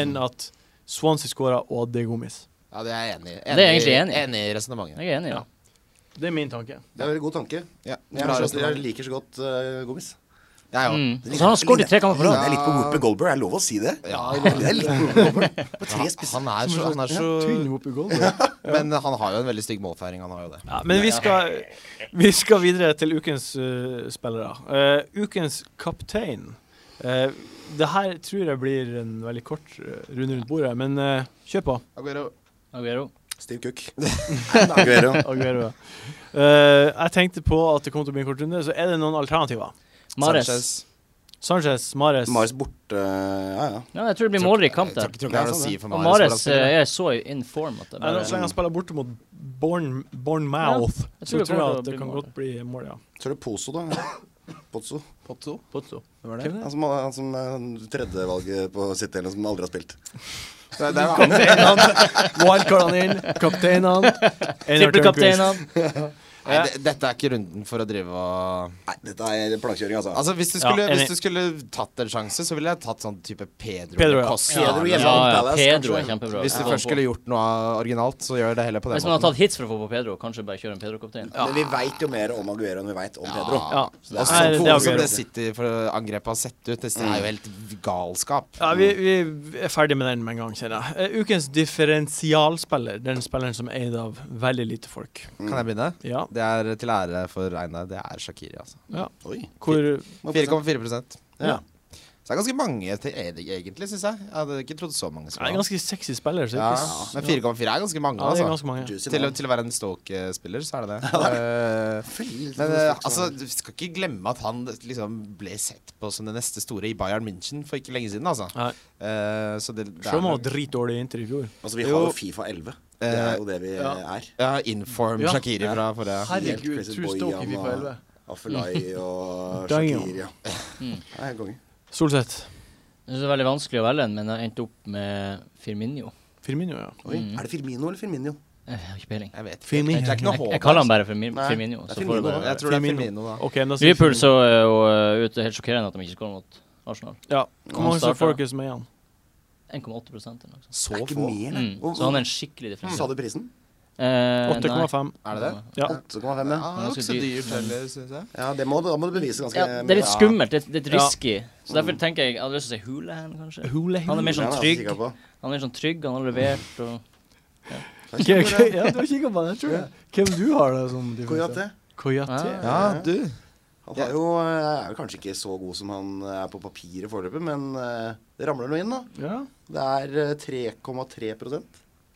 enn at Swansea skårer og det er Gomis.
Ja, det er jeg enig i.
Det er jeg egentlig enig i.
Enig i resonnementet.
Jeg er enig. Ja.
Ja. Det er min tanke.
Det er en veldig god tanke.
Ja,
Jeg,
bra
er så, jeg
resonnement.
liker så godt eh, Gommis.
Jeg òg.
Mm. Og så har han skåret i tre kamper på rad.
Det er litt på Whooper Goldberg, er det lov å si det?
Ja.
Det er litt på Whooper Goldberg. På tre spisser.
Han er så, han er så
Tynn opp i gulvet.
Men han har jo en veldig stygg målfeiring, han har jo det.
Ja, men vi skal, vi skal videre til ukens eh, spillere. Eh, ukens kaptein. Uh, det her tror jeg blir en veldig kort eh, runde rundt bordet, men eh, kjør på.
Aguero.
Aguero.
Steve [LAUGHS] Cook. Aguero.
[LAUGHS] Aguero. Eh, jeg tenkte på at det kom til å bli en kort runde, så er det noen alternativer?
Mares.
Sanchez.
Sanchez, Mares
Mares borte Ja, ja.
Ja, jeg tror det blir målrik kamp
Jeg
der.
tror ikke- tror ikke det er
Ja,
noe å
sånn
si
det.
for
Og
Mares.
Mares
hvordan han spiller.
eh, er så in form at det
Nei,
bare
Så lenge han spiller borte mot Born, Bournemouth, så
Jeg tror det
tror jeg at
kommer
det
til å bli
kan
mål,
godt bli mål, ja.
Så er det Pozo, da. Pozzo.
Pozzo?
Pozzo.
Hvem er det?
Hvem er
Han
det?
som, han som er tredjevalget på City, eller som aldri har spilt.
Det er- det er jo annet.
Wildcardene inn,
[LAUGHS]
kapteinene.
Trippelkapteinen han.
Nei, det- Dette er ikke runden for å drive og
Nei, dette er plankekjøring, altså.
Altså, hvis du skulle,
Ja, enig.
hvis du skulle tatt en sjanse, så ville jeg tatt sånn type Pedro.
Pedro, ja.
Costa.
Pedro
Ja,
hjemme mot
ja,
Palace,
Pedro er
kanskje.
kjempebra.
Hvis du
Ja.
først skulle gjort noe originalt, så gjør det heller på den
Hvis man har tatt hits for å få på Pedro, kanskje bare kjøre en Pedro-kaptein.
Men vi veit jo mer om Aguero enn vi veit om Pedro.
Ja.
Så det er
Nei,
sånn
det er
hvordan som
Aguero.
det City-angrepet har sett ut. Det er jo helt galskap.
Ja, vi, vi er ferdig med den med en gang, kjenner jeg. Eh, Ukens differensialspiller, den spilleren som er eid av veldig lite folk.
Kan jeg begynne?
Ja.
Det er til ære for Einar. Det er Shakiri, altså.
Oi.
Hvor
må jeg prøve.
4,4 Så
ja.
det er ganske mange til er det egentlig, syns jeg. Jeg hadde ikke trodd så mange.
Det er en
skulle ha.
ganske sexy spiller, så det
Ja,
er ikke s-
men 4,4 er ganske mange,
ja, det er
altså.
ganske mange.
Juicy
Til, å-
navn.
til å være en Stoke-spiller, så er det det. Eh,
Veldig
Men eh,
sånn
altså,
slags-
du skal ikke glemme at han liksom ble sett på som det neste store i Bayern München for ikke lenge siden, altså.
Nei.
Eh, så det, det
Selv om han var
nok-
dritdårlig i Inter i fjor.
altså, vi har
jo.
jo Fifa 11. Det er jo det vi
Ja.
er.
eh, ja, Inform
Ja.
Shakiri fra forrige.
Herregud, Helt Crazy True Boy, Stoke i han FIFA var- 11. Affelai
[LAUGHS]
og
Dang,
Shakir, ja.
Mm.
Det er helt konge.
Solseth.
Jeg synes det er veldig vanskelig å velge en, men jeg endte opp med Firminio.
Firmino, ja.
Oi.
Mm.
Er det Firmino eller Firminio?
Jeg har ikke peiling.
Jeg vet ikke.
Firmino.
Det er ikke noe
Jeg,
håp.
jeg kaller han bare Firmi-
Nei,
Firminio.
det er
Så får det
Firmino,
bare
Jeg tror det er Firmino, da.
Ok, da sier
Liverpool
Firmino.
så er jo eh, ute helt sjokkerende at de ikke skårer mot Arsenal.
Ja. Hvor mange som
starter.
får dere som er igjen?
1,8 eller noe sånt.
Så
det er ikke
få.
mer, nei.
Mm.
Og-
Så han er en skikkelig
og-
differanse.
Sa du prisen?
Eh, nei.
8,5.
Er det det?
Ja.
8,5,
Ja,
ja.
det
ganske
er ikke så
dyrt,
dyrt heller, syns jeg.
ja det må, du- da må du bevise ganske
Ja, det er litt
mye.
skummelt. Det er litt
Ja.
risky. Så derfor tenker jeg Jeg hadde lyst til å si Hulahan, kanskje.
Hule,
Han er mer
Ja,
sånn
det er jeg
trygg.
sikker på.
Han er mer sånn trygg, han har levert og
okay, ok, Ja, du har kikka på den, tror jeg. Hvem du har da som Ah.
Koyate.
Koyate.
Ja, du.
Han har jo, eh, er jo kanskje ikke så god som han eh, er på papiret foreløpig, men eh, det ramler noe inn, da.
Ja.
Det er eh, 3,3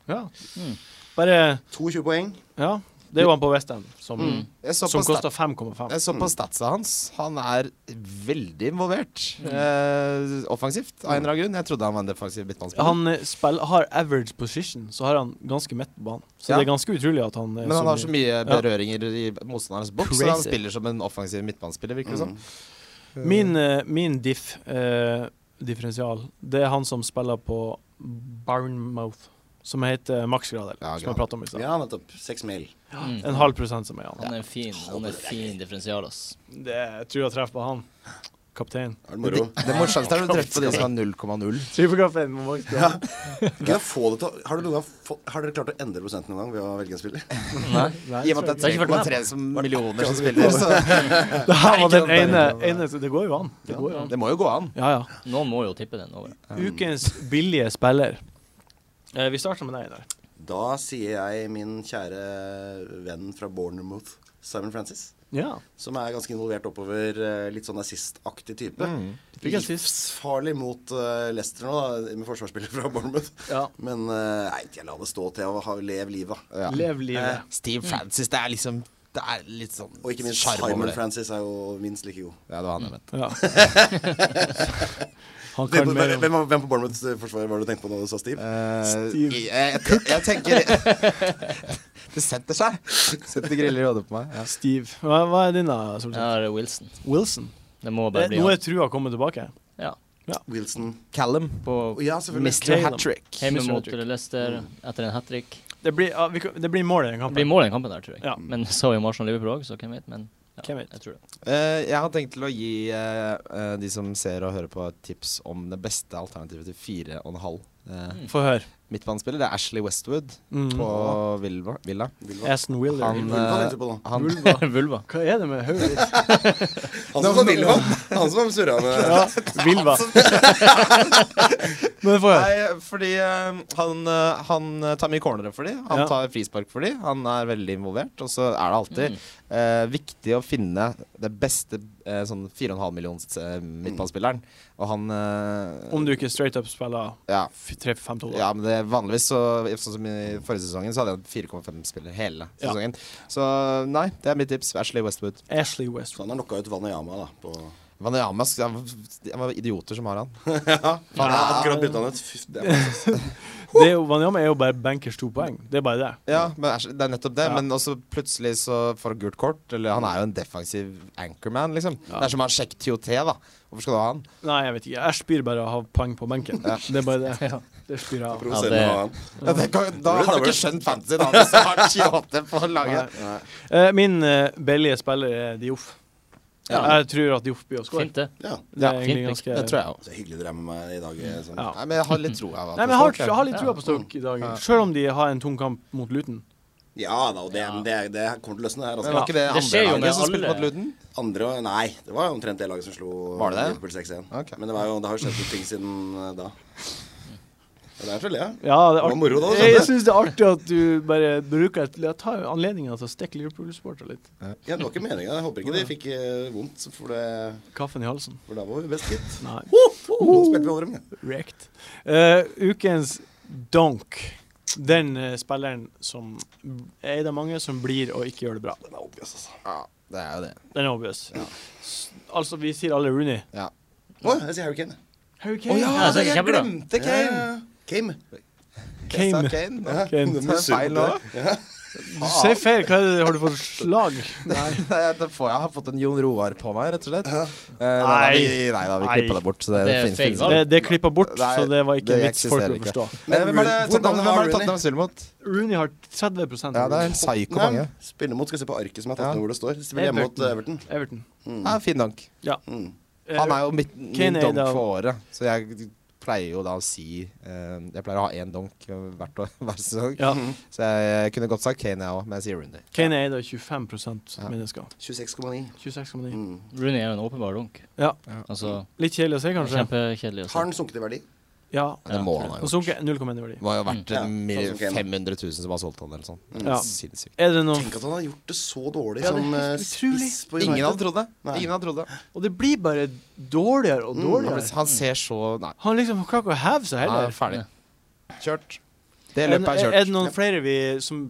ja.
Mm.
Bare
22 poeng.
Ja. Det er jo han på Westham som,
Mm.
Jeg så på
som
stat-
koster 5,5.
jeg så på statsa hans. Han er veldig involvert eh, offensivt. Av en eller annen grunn. Jeg trodde han var en defensiv midtmannsspiller.
Han eh, spill, har average position, så har han ganske midt på banen. Så
Ja.
det er ganske utrolig at han er
Men han har så mye
eh, Ja.
berøringer i motstanderens boks, så han
Crazy.
spiller som en offensiv midtbanespiller, virker
Mm,
det som.
Min, eh, min diff, eh, differensial, det er han som spiller på Barnmouth, som heter Max Gradel,
Ja,
som jeg prata om i stad.
Ja, nettopp. 6 mil.
mm.
En halv prosent som er han.
Han er en fin, han er en fin differensial, ass.
Det jeg tror jeg treffer på han. Kaptein.
Er det moro?
Det morsomste er å treffe på de som har 0,0.
Superkaptein på Max Gradel.
Kunne jeg få det til å- Har dere noen gang få- har dere klart å endre prosenten noen gang ved å velge en spiller?
I og med at det
Det har ikke vært med
er 3,3 som millioner som spiller, så
Det her var den
Nei, ikke
ene,
han der.
ene så Det går jo an. Det går jo an. Um,
det må jo gå an.
Ja, ja.
Noen må jo tippe den over.
Ukens billige spiller. Eh, vi starter med deg, Einar.
Da sier jeg min kjære venn fra Bournemouth, Simon Francis.
Ja.
Som er ganske involvert oppover. eh, Litt sånn nazistaktig type.
Fikk en sist.
Livsfarlig mot eh, Leicester nå, da, med forsvarsspiller fra Bournemouth.
Ja.
Men eh, nei, jeg lar det stå til å ha, leve livet. da.
Ja. Eh,
Lev livet.
Steve Francis, det er liksom Det er litt sånn
Og ikke minst
sjarm
Simon
over det.
Francis er jo minst like god.
Ja, det var han jeg mente.
Ja. [LAUGHS] Han
Hvem,
kan mer om
hvem, hvem på Bournemouths eh, forsvar var det du tenkte på når du sa Steve?
Eh,
Steve.
jeg, jeg, jeg tenker [LAUGHS] Det Det setter seg. Setter griller i hodet på meg. Ja.
Steve. Hva, hva er din, da,
Jeg
Solseth?
har Wilson.
Wilson.
Det må
Det
bare
er
bli
noe
han.
jeg tror har kommet tilbake.
Ja.
Wilson.
Callum.
På
Å, ja, selvfølgelig.
Mr.
Callum.
Hat Trick.
hjemme
Mr.
mot
Hattrick.
Leicester etter en hat trick.
Det blir, ja, vi, kan- det blir mål i den
Det blir
kampen.
mål i den kampen der, tror jeg.
Ja.
Men så er jo Marshall Liverpool òg, så hvem vet. Men ja,
Hvem vet?
jeg tror det.
Eh, jeg har tenkt til å gi eh, eh, de som ser og hører på, et tips om det beste alternativet til fire og en halv eh,
Få høre.
midtbanespiller. Det er Ashley Westwood
Mm.
på Villa. Villa.
Wilva.
Aston Willer.
Han,
Wilva
eh,
tenkte på nå.
[LAUGHS]
Han
Vulva.
Hva er det med hodet ditt?
Han som sa Wilva. Han som surra med
Ja, Vilva. [LAUGHS] Men få høre.
Nei, fordi eh, han, eh, han eh, tar mye cornere for de Han
Ja.
tar frispark for de Han er veldig involvert. Og så er det alltid
Mm.
eh, viktig å finne det beste eh, sånn 4,5 millions eh, midtbanespilleren. Og han eh,
Om du ikke straight up spiller
ja.
3-5-2.
Ja, men det er vanligvis så Sånn som i forrige sesongen, så hadde jeg 4,5 spillere hele
Ja.
sesongen. Så nei, det er mitt tips. Ashley Westwood.
Ashley
Så
Westwood.
han har knocka ut Vanayama, da. På
Vanayama sk- Det var idioter som har han.
Han har akkurat bytta han ut. Fy, det er masse.
Det er jo, Wanyama er jo bare bankers to poeng. Det er bare det.
Ja, men Ashley, det er nettopp det.
Ja.
Men også plutselig så får han gult kort. Eller han er jo en defensiv anchorman, liksom.
Ja.
Det er som han sjekker TOT, da. Hvorfor skal du ha han?
Nei, jeg vet ikke. Jeg spyr bare å ha poeng på benken. Det er bare det. Det spyr jeg av.
provoserende
det-
å ha han.
Ja, det kan,
Blir
da
det
har du
dobbelt?
ikke skjønt fantasy, da. Hvis du har TOT på laget.
Nei.
Eh, Min eh, billige spiller er Dioff.
Ja.
Jeg tror at Dioff blir å score.
Fint, det.
Ja.
Det er
Ja,
egentlig
fint,
ganske
Det tror jeg òg.
Så hyggelig dere er med meg i dag. eh, Sånn.
Ja.
Nei, men jeg har litt tro. av
Nei,
at
men jeg
det
har,
står,
jeg har litt trua på Stoke i dag, selv om de har en tung kamp mot Luton.
Ja da, og det, det, det kommer til å løsne det her.
Men
Altså.
var ikke det
Det
andre
skjer jo med
laget som spilte
alle.
mot Luden?
Andre Nei, det var omtrent det laget som slo
Var det det?
Liverpool 6-1.
Ok.
Men det, var jo, det har jo skjedd noen ting siden eh, da. Ja, det er så le av.
Ja, det er
Det var moro da, altså.
artig.
skjønner
Jeg
du.
syns det er artig at du bare bruker et, jeg tar anledningen til å stikke Liverpool-supporter litt.
Ja, det var ikke meninga. Jeg håper ikke de fikk eh, vondt, for, det,
Kaffen i halsen.
for da var vi best, gitt.
Nei.
Nå spilte vi over dem, ja.
Rekt. Eh, ukens donk. Den eh, spilleren som er det mange som blir og ikke gjør det bra.
Den er obvious, altså.
Ja, det er jo det.
Den er obvious. S- Altså, vi sier alle Rooney.
Ja.
Å, jeg sier Harry Kane.
Harry
Å
Kane.
Ja, det er kjempebra.
glemte
Ja, Kane.
Jeg sa
Kane.
Kane.
Ja,
Kane.
den
Det er feil nå.
misunnte.
Du sier feil. Hva er det? Har du fått slag? Nei.
Nei, det får, jeg har fått en Jon Roar på meg, rett og slett. Eh, nei,
Nei.
da, vi, nei da, vi
Nei.
klippa det bort. Så det,
Det er
finnes-
feil
finnes
valg.
Det, det er klippa bort,
Nei,
så det var ikke
det
en vits folk
eksisterer
vil
ikke.
forstå.
ikke. Eh, Hvem er det
Hvor
Tottenham
mange
hvem er det
har
Tottenham spiller mot?
Rooney har 30
Ja, det er en psyko mange.
Nei, Spiller mot, skal se på arket som er tatt
Ja.
ned hvor det står. De Spiller hjemme mot Everton.
Everton.
Ja, fin donk.
Mm.
Eh,
Han er jo mitt,
Kane
min
er
donk
da-
for året, så jeg pleier jo da å si eh, Jeg pleier å ha én donk hvert år, [LAUGHS] hver sesong.
ja.
Mhm. Mm.
Så jeg, jeg kunne godt sagt Kane, jeg òg, men jeg sier Rooney.
Kane er da 25
Ja.
mennesker.
26,9.
26,9.
Mm.
Rooney er jo en åpenbar dunk.
Ja.
Altså,
Litt kjedelig å se, Mm. kanskje.
Kjempekjedelig å se.
Har den sunket i verdi?
Ja.
Det
Ja,
må
tror
han ha
jeg.
Og
gjort.
sunket 0,1 i verdi.
Det må jo ha vært
Ja,
en mil-
sånn som Kane.
500 000 som har solgt han, eller sånn.
Ja.
Sinnssykt.
Er det noen
Tenk at han har gjort det så dårlig
Ja, det er
som eh,
helt utrolig.
spiss på
Ingen hadde
United.
trodd det.
Nei.
Ingen hadde trodd det.
Og det blir bare dårligere
Mm.
og dårligere.
Han ser så Nei.
Han liksom klarer ikke å heve seg
Nei,
heller.
ferdig. Kjørt. Det
Er,
løpet
er,
er
det
kjørt.
noen flere vi som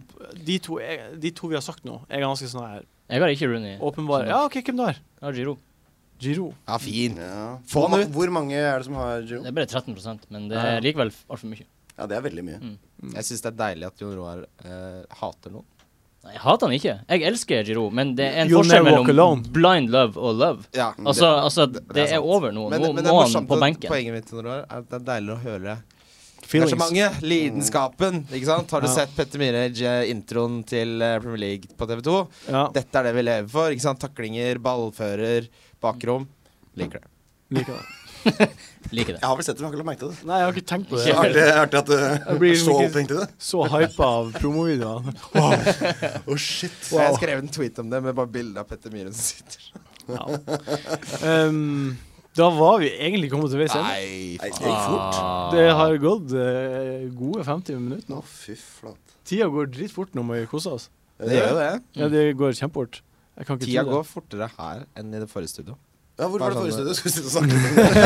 De to, er, de to vi har sagt nå, er ganske sånn her
Jeg har ikke Rooney.
åpenbare. Ja, OK, hvem der?
Jeg har Giro.
Giro.
Ja, fin.
Ja.
Få
Hvor ma-
den ut. Mm.
Hvor mange er det som har Giro?
Det er bare 13 men det
Ja.
er likevel altfor mye.
Ja, det er veldig mye.
Mm. Jeg syns det er deilig at Jon Roar eh, hater noen.
Nei, Jeg hater han ikke. Jeg elsker Giro, men det er en
You'll
forskjell
never walk
mellom
alone.
blind love og love.
Ja,
Altså, altså det,
Mm, det er
er
sant.
over nå.
men,
Nå
men det er
må han
morsomt
på
at
benken.
poenget mitt Jon Roar, er at det er deilig å høre
Feelings. Mm.
engasjementet, lidenskapen. ikke sant? Har du
Ja.
sett Petter Myhre eh, introen til eh, Premier League på TV 2?
Ja,
Dette er det vi lever for. ikke sant? Taklinger, ballfører, bakrom. Liker det.
liker det.
Liker det.
Jeg har vel sett det, men jeg har ikke lagt merke
[LAUGHS]
til det.
Nei, jeg har ikke tenkt på [LAUGHS]
Det
det.
er Artig, artig
[LAUGHS]
at du
Jeg blir
er så
ikke-
opphengt
[LAUGHS]
i det.
Så hypa av promovideoene.
Å,
Oh,
shit.
Jeg skrev en tweet om det med bare bilde av Petter Myhre som sitter
Ja. Ehm, da var vi egentlig kommet til veis ende.
Nei,
Nei, faen.
det gikk fort.
Det har gått eh, gode 50 minutter nå.
Å, fy flate.
Tida går dritfort når vi koser oss.
Det gjør jo det.
Ja, det går kjempefort. Jeg kan ikke
Tida
tro det.
går fortere her enn i det forrige studio.
Ja, hvor var det
Bare
forrige
sånn-
studio? Skulle vi sitte og snakke om
[LAUGHS]
det?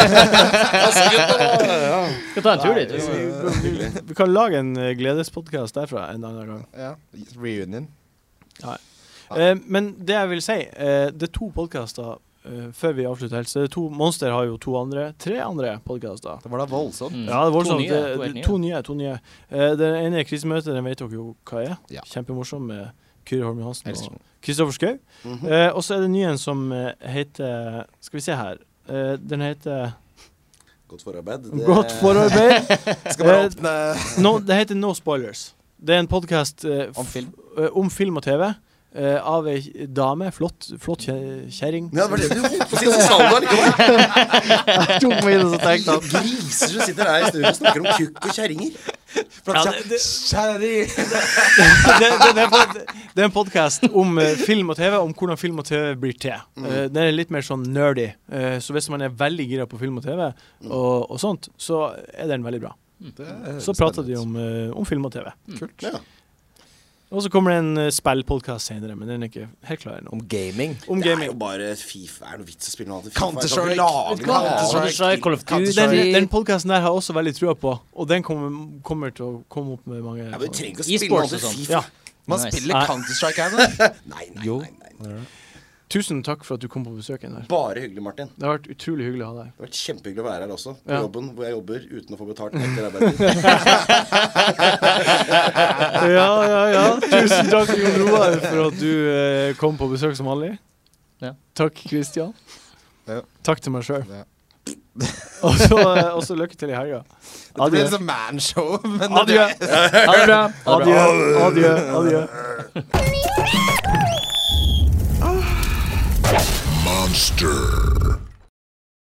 Ja, sikkert, da. Ja, ja.
Skal ta en tur dit.
Vi, vi, [LAUGHS] vi kan lage en eh, gledespodkast derfra en annen gang.
Ja. Reunion.
Eh, men det jeg vil si, eh, det er to podkaster eh, før vi avslutter helt, så er det to Monster har jo to andre, tre andre podkaster.
Det var da voldsomt.
Mm.
Ja, det er voldsomt.
To nye, to
det,
helt
det,
nye.
to nye. To nye. Eh, den ene er krisemøtet, den vet dere jo hva er.
Ja.
Kjempemorsom med Kyrre Holm Johansen
Elsker Mm.
og Kristoffer Schou.
Mhm.
Eh, og så er det en ny en som eh, heter Skal vi se her. Eh, den heter
Godt forarbeid. det-
Godt forarbeid.
Skal bare
Eh,
åpne
no, det heter No Spoilers. Det er en eh, podkast
om film.
om film og TV. eh, av ei dame. Flott, flott kje-
[LAUGHS]
kjerring.
Ja, det var det du holdt på å si som saldo allikevel.
Tok meg inn og så tenkte han
Griser som sitter her i studio og snakker om kukk og kjerringer.
Ja, det- det- det, det, det, er pod- det er en podkast om eh, film og TV, om hvordan film og TV blir til. Eh,
Mm.
den er litt mer sånn nerdy, eh, så hvis man er veldig gira på film og TV,
Mm.
og, og sånt, så er den veldig bra. Så prater de om, eh, om film og TV.
Kult.
Ja.
Og så kommer det en uh, spillpodkast senere, men den er ikke helt klar ennå.
Om gaming.
Om
Det er jo
gaming.
bare Fifa. Er det noe vits å spille noe annet? enn FIFA?
Counter-Strike.
Jeg kan ikke lage noe annet.
Counter-Strike, Call of Duty.
Den, den podkasten der har jeg også veldig trua på, og den kommer, kommer til å komme opp med mange
Ja, men du trenger ikke å spille noe
E-sports
annet
og
enn
sånn.
Fifa.
Ja.
Man
Nice.
Nei.
spiller Counter-Strike her nå.
Nei, nei,
Jo.
nei, nei.
Tusen takk for at du kom på besøk. Einar.
Bare hyggelig, Martin.
Det har vært utrolig hyggelig å ha deg her.
Det har vært kjempehyggelig å være her også. På
Ja.
jobben hvor jeg jobber uten å få betalt etter arbeidet.
Ja, ja, ja. Tusen takk Jon Roar for at du eh, kom på besøk som vanlig.
Ja.
Takk, Kristian.
Ja.
Takk til meg sjøl.
Ja.
Og så eh, og så lykke til i helga.
Det blir
Adjø.
liksom manshow. [LAUGHS] Men
Adjø.
Ha det bra.
Adjø. Adjø. Adjø.
Monster.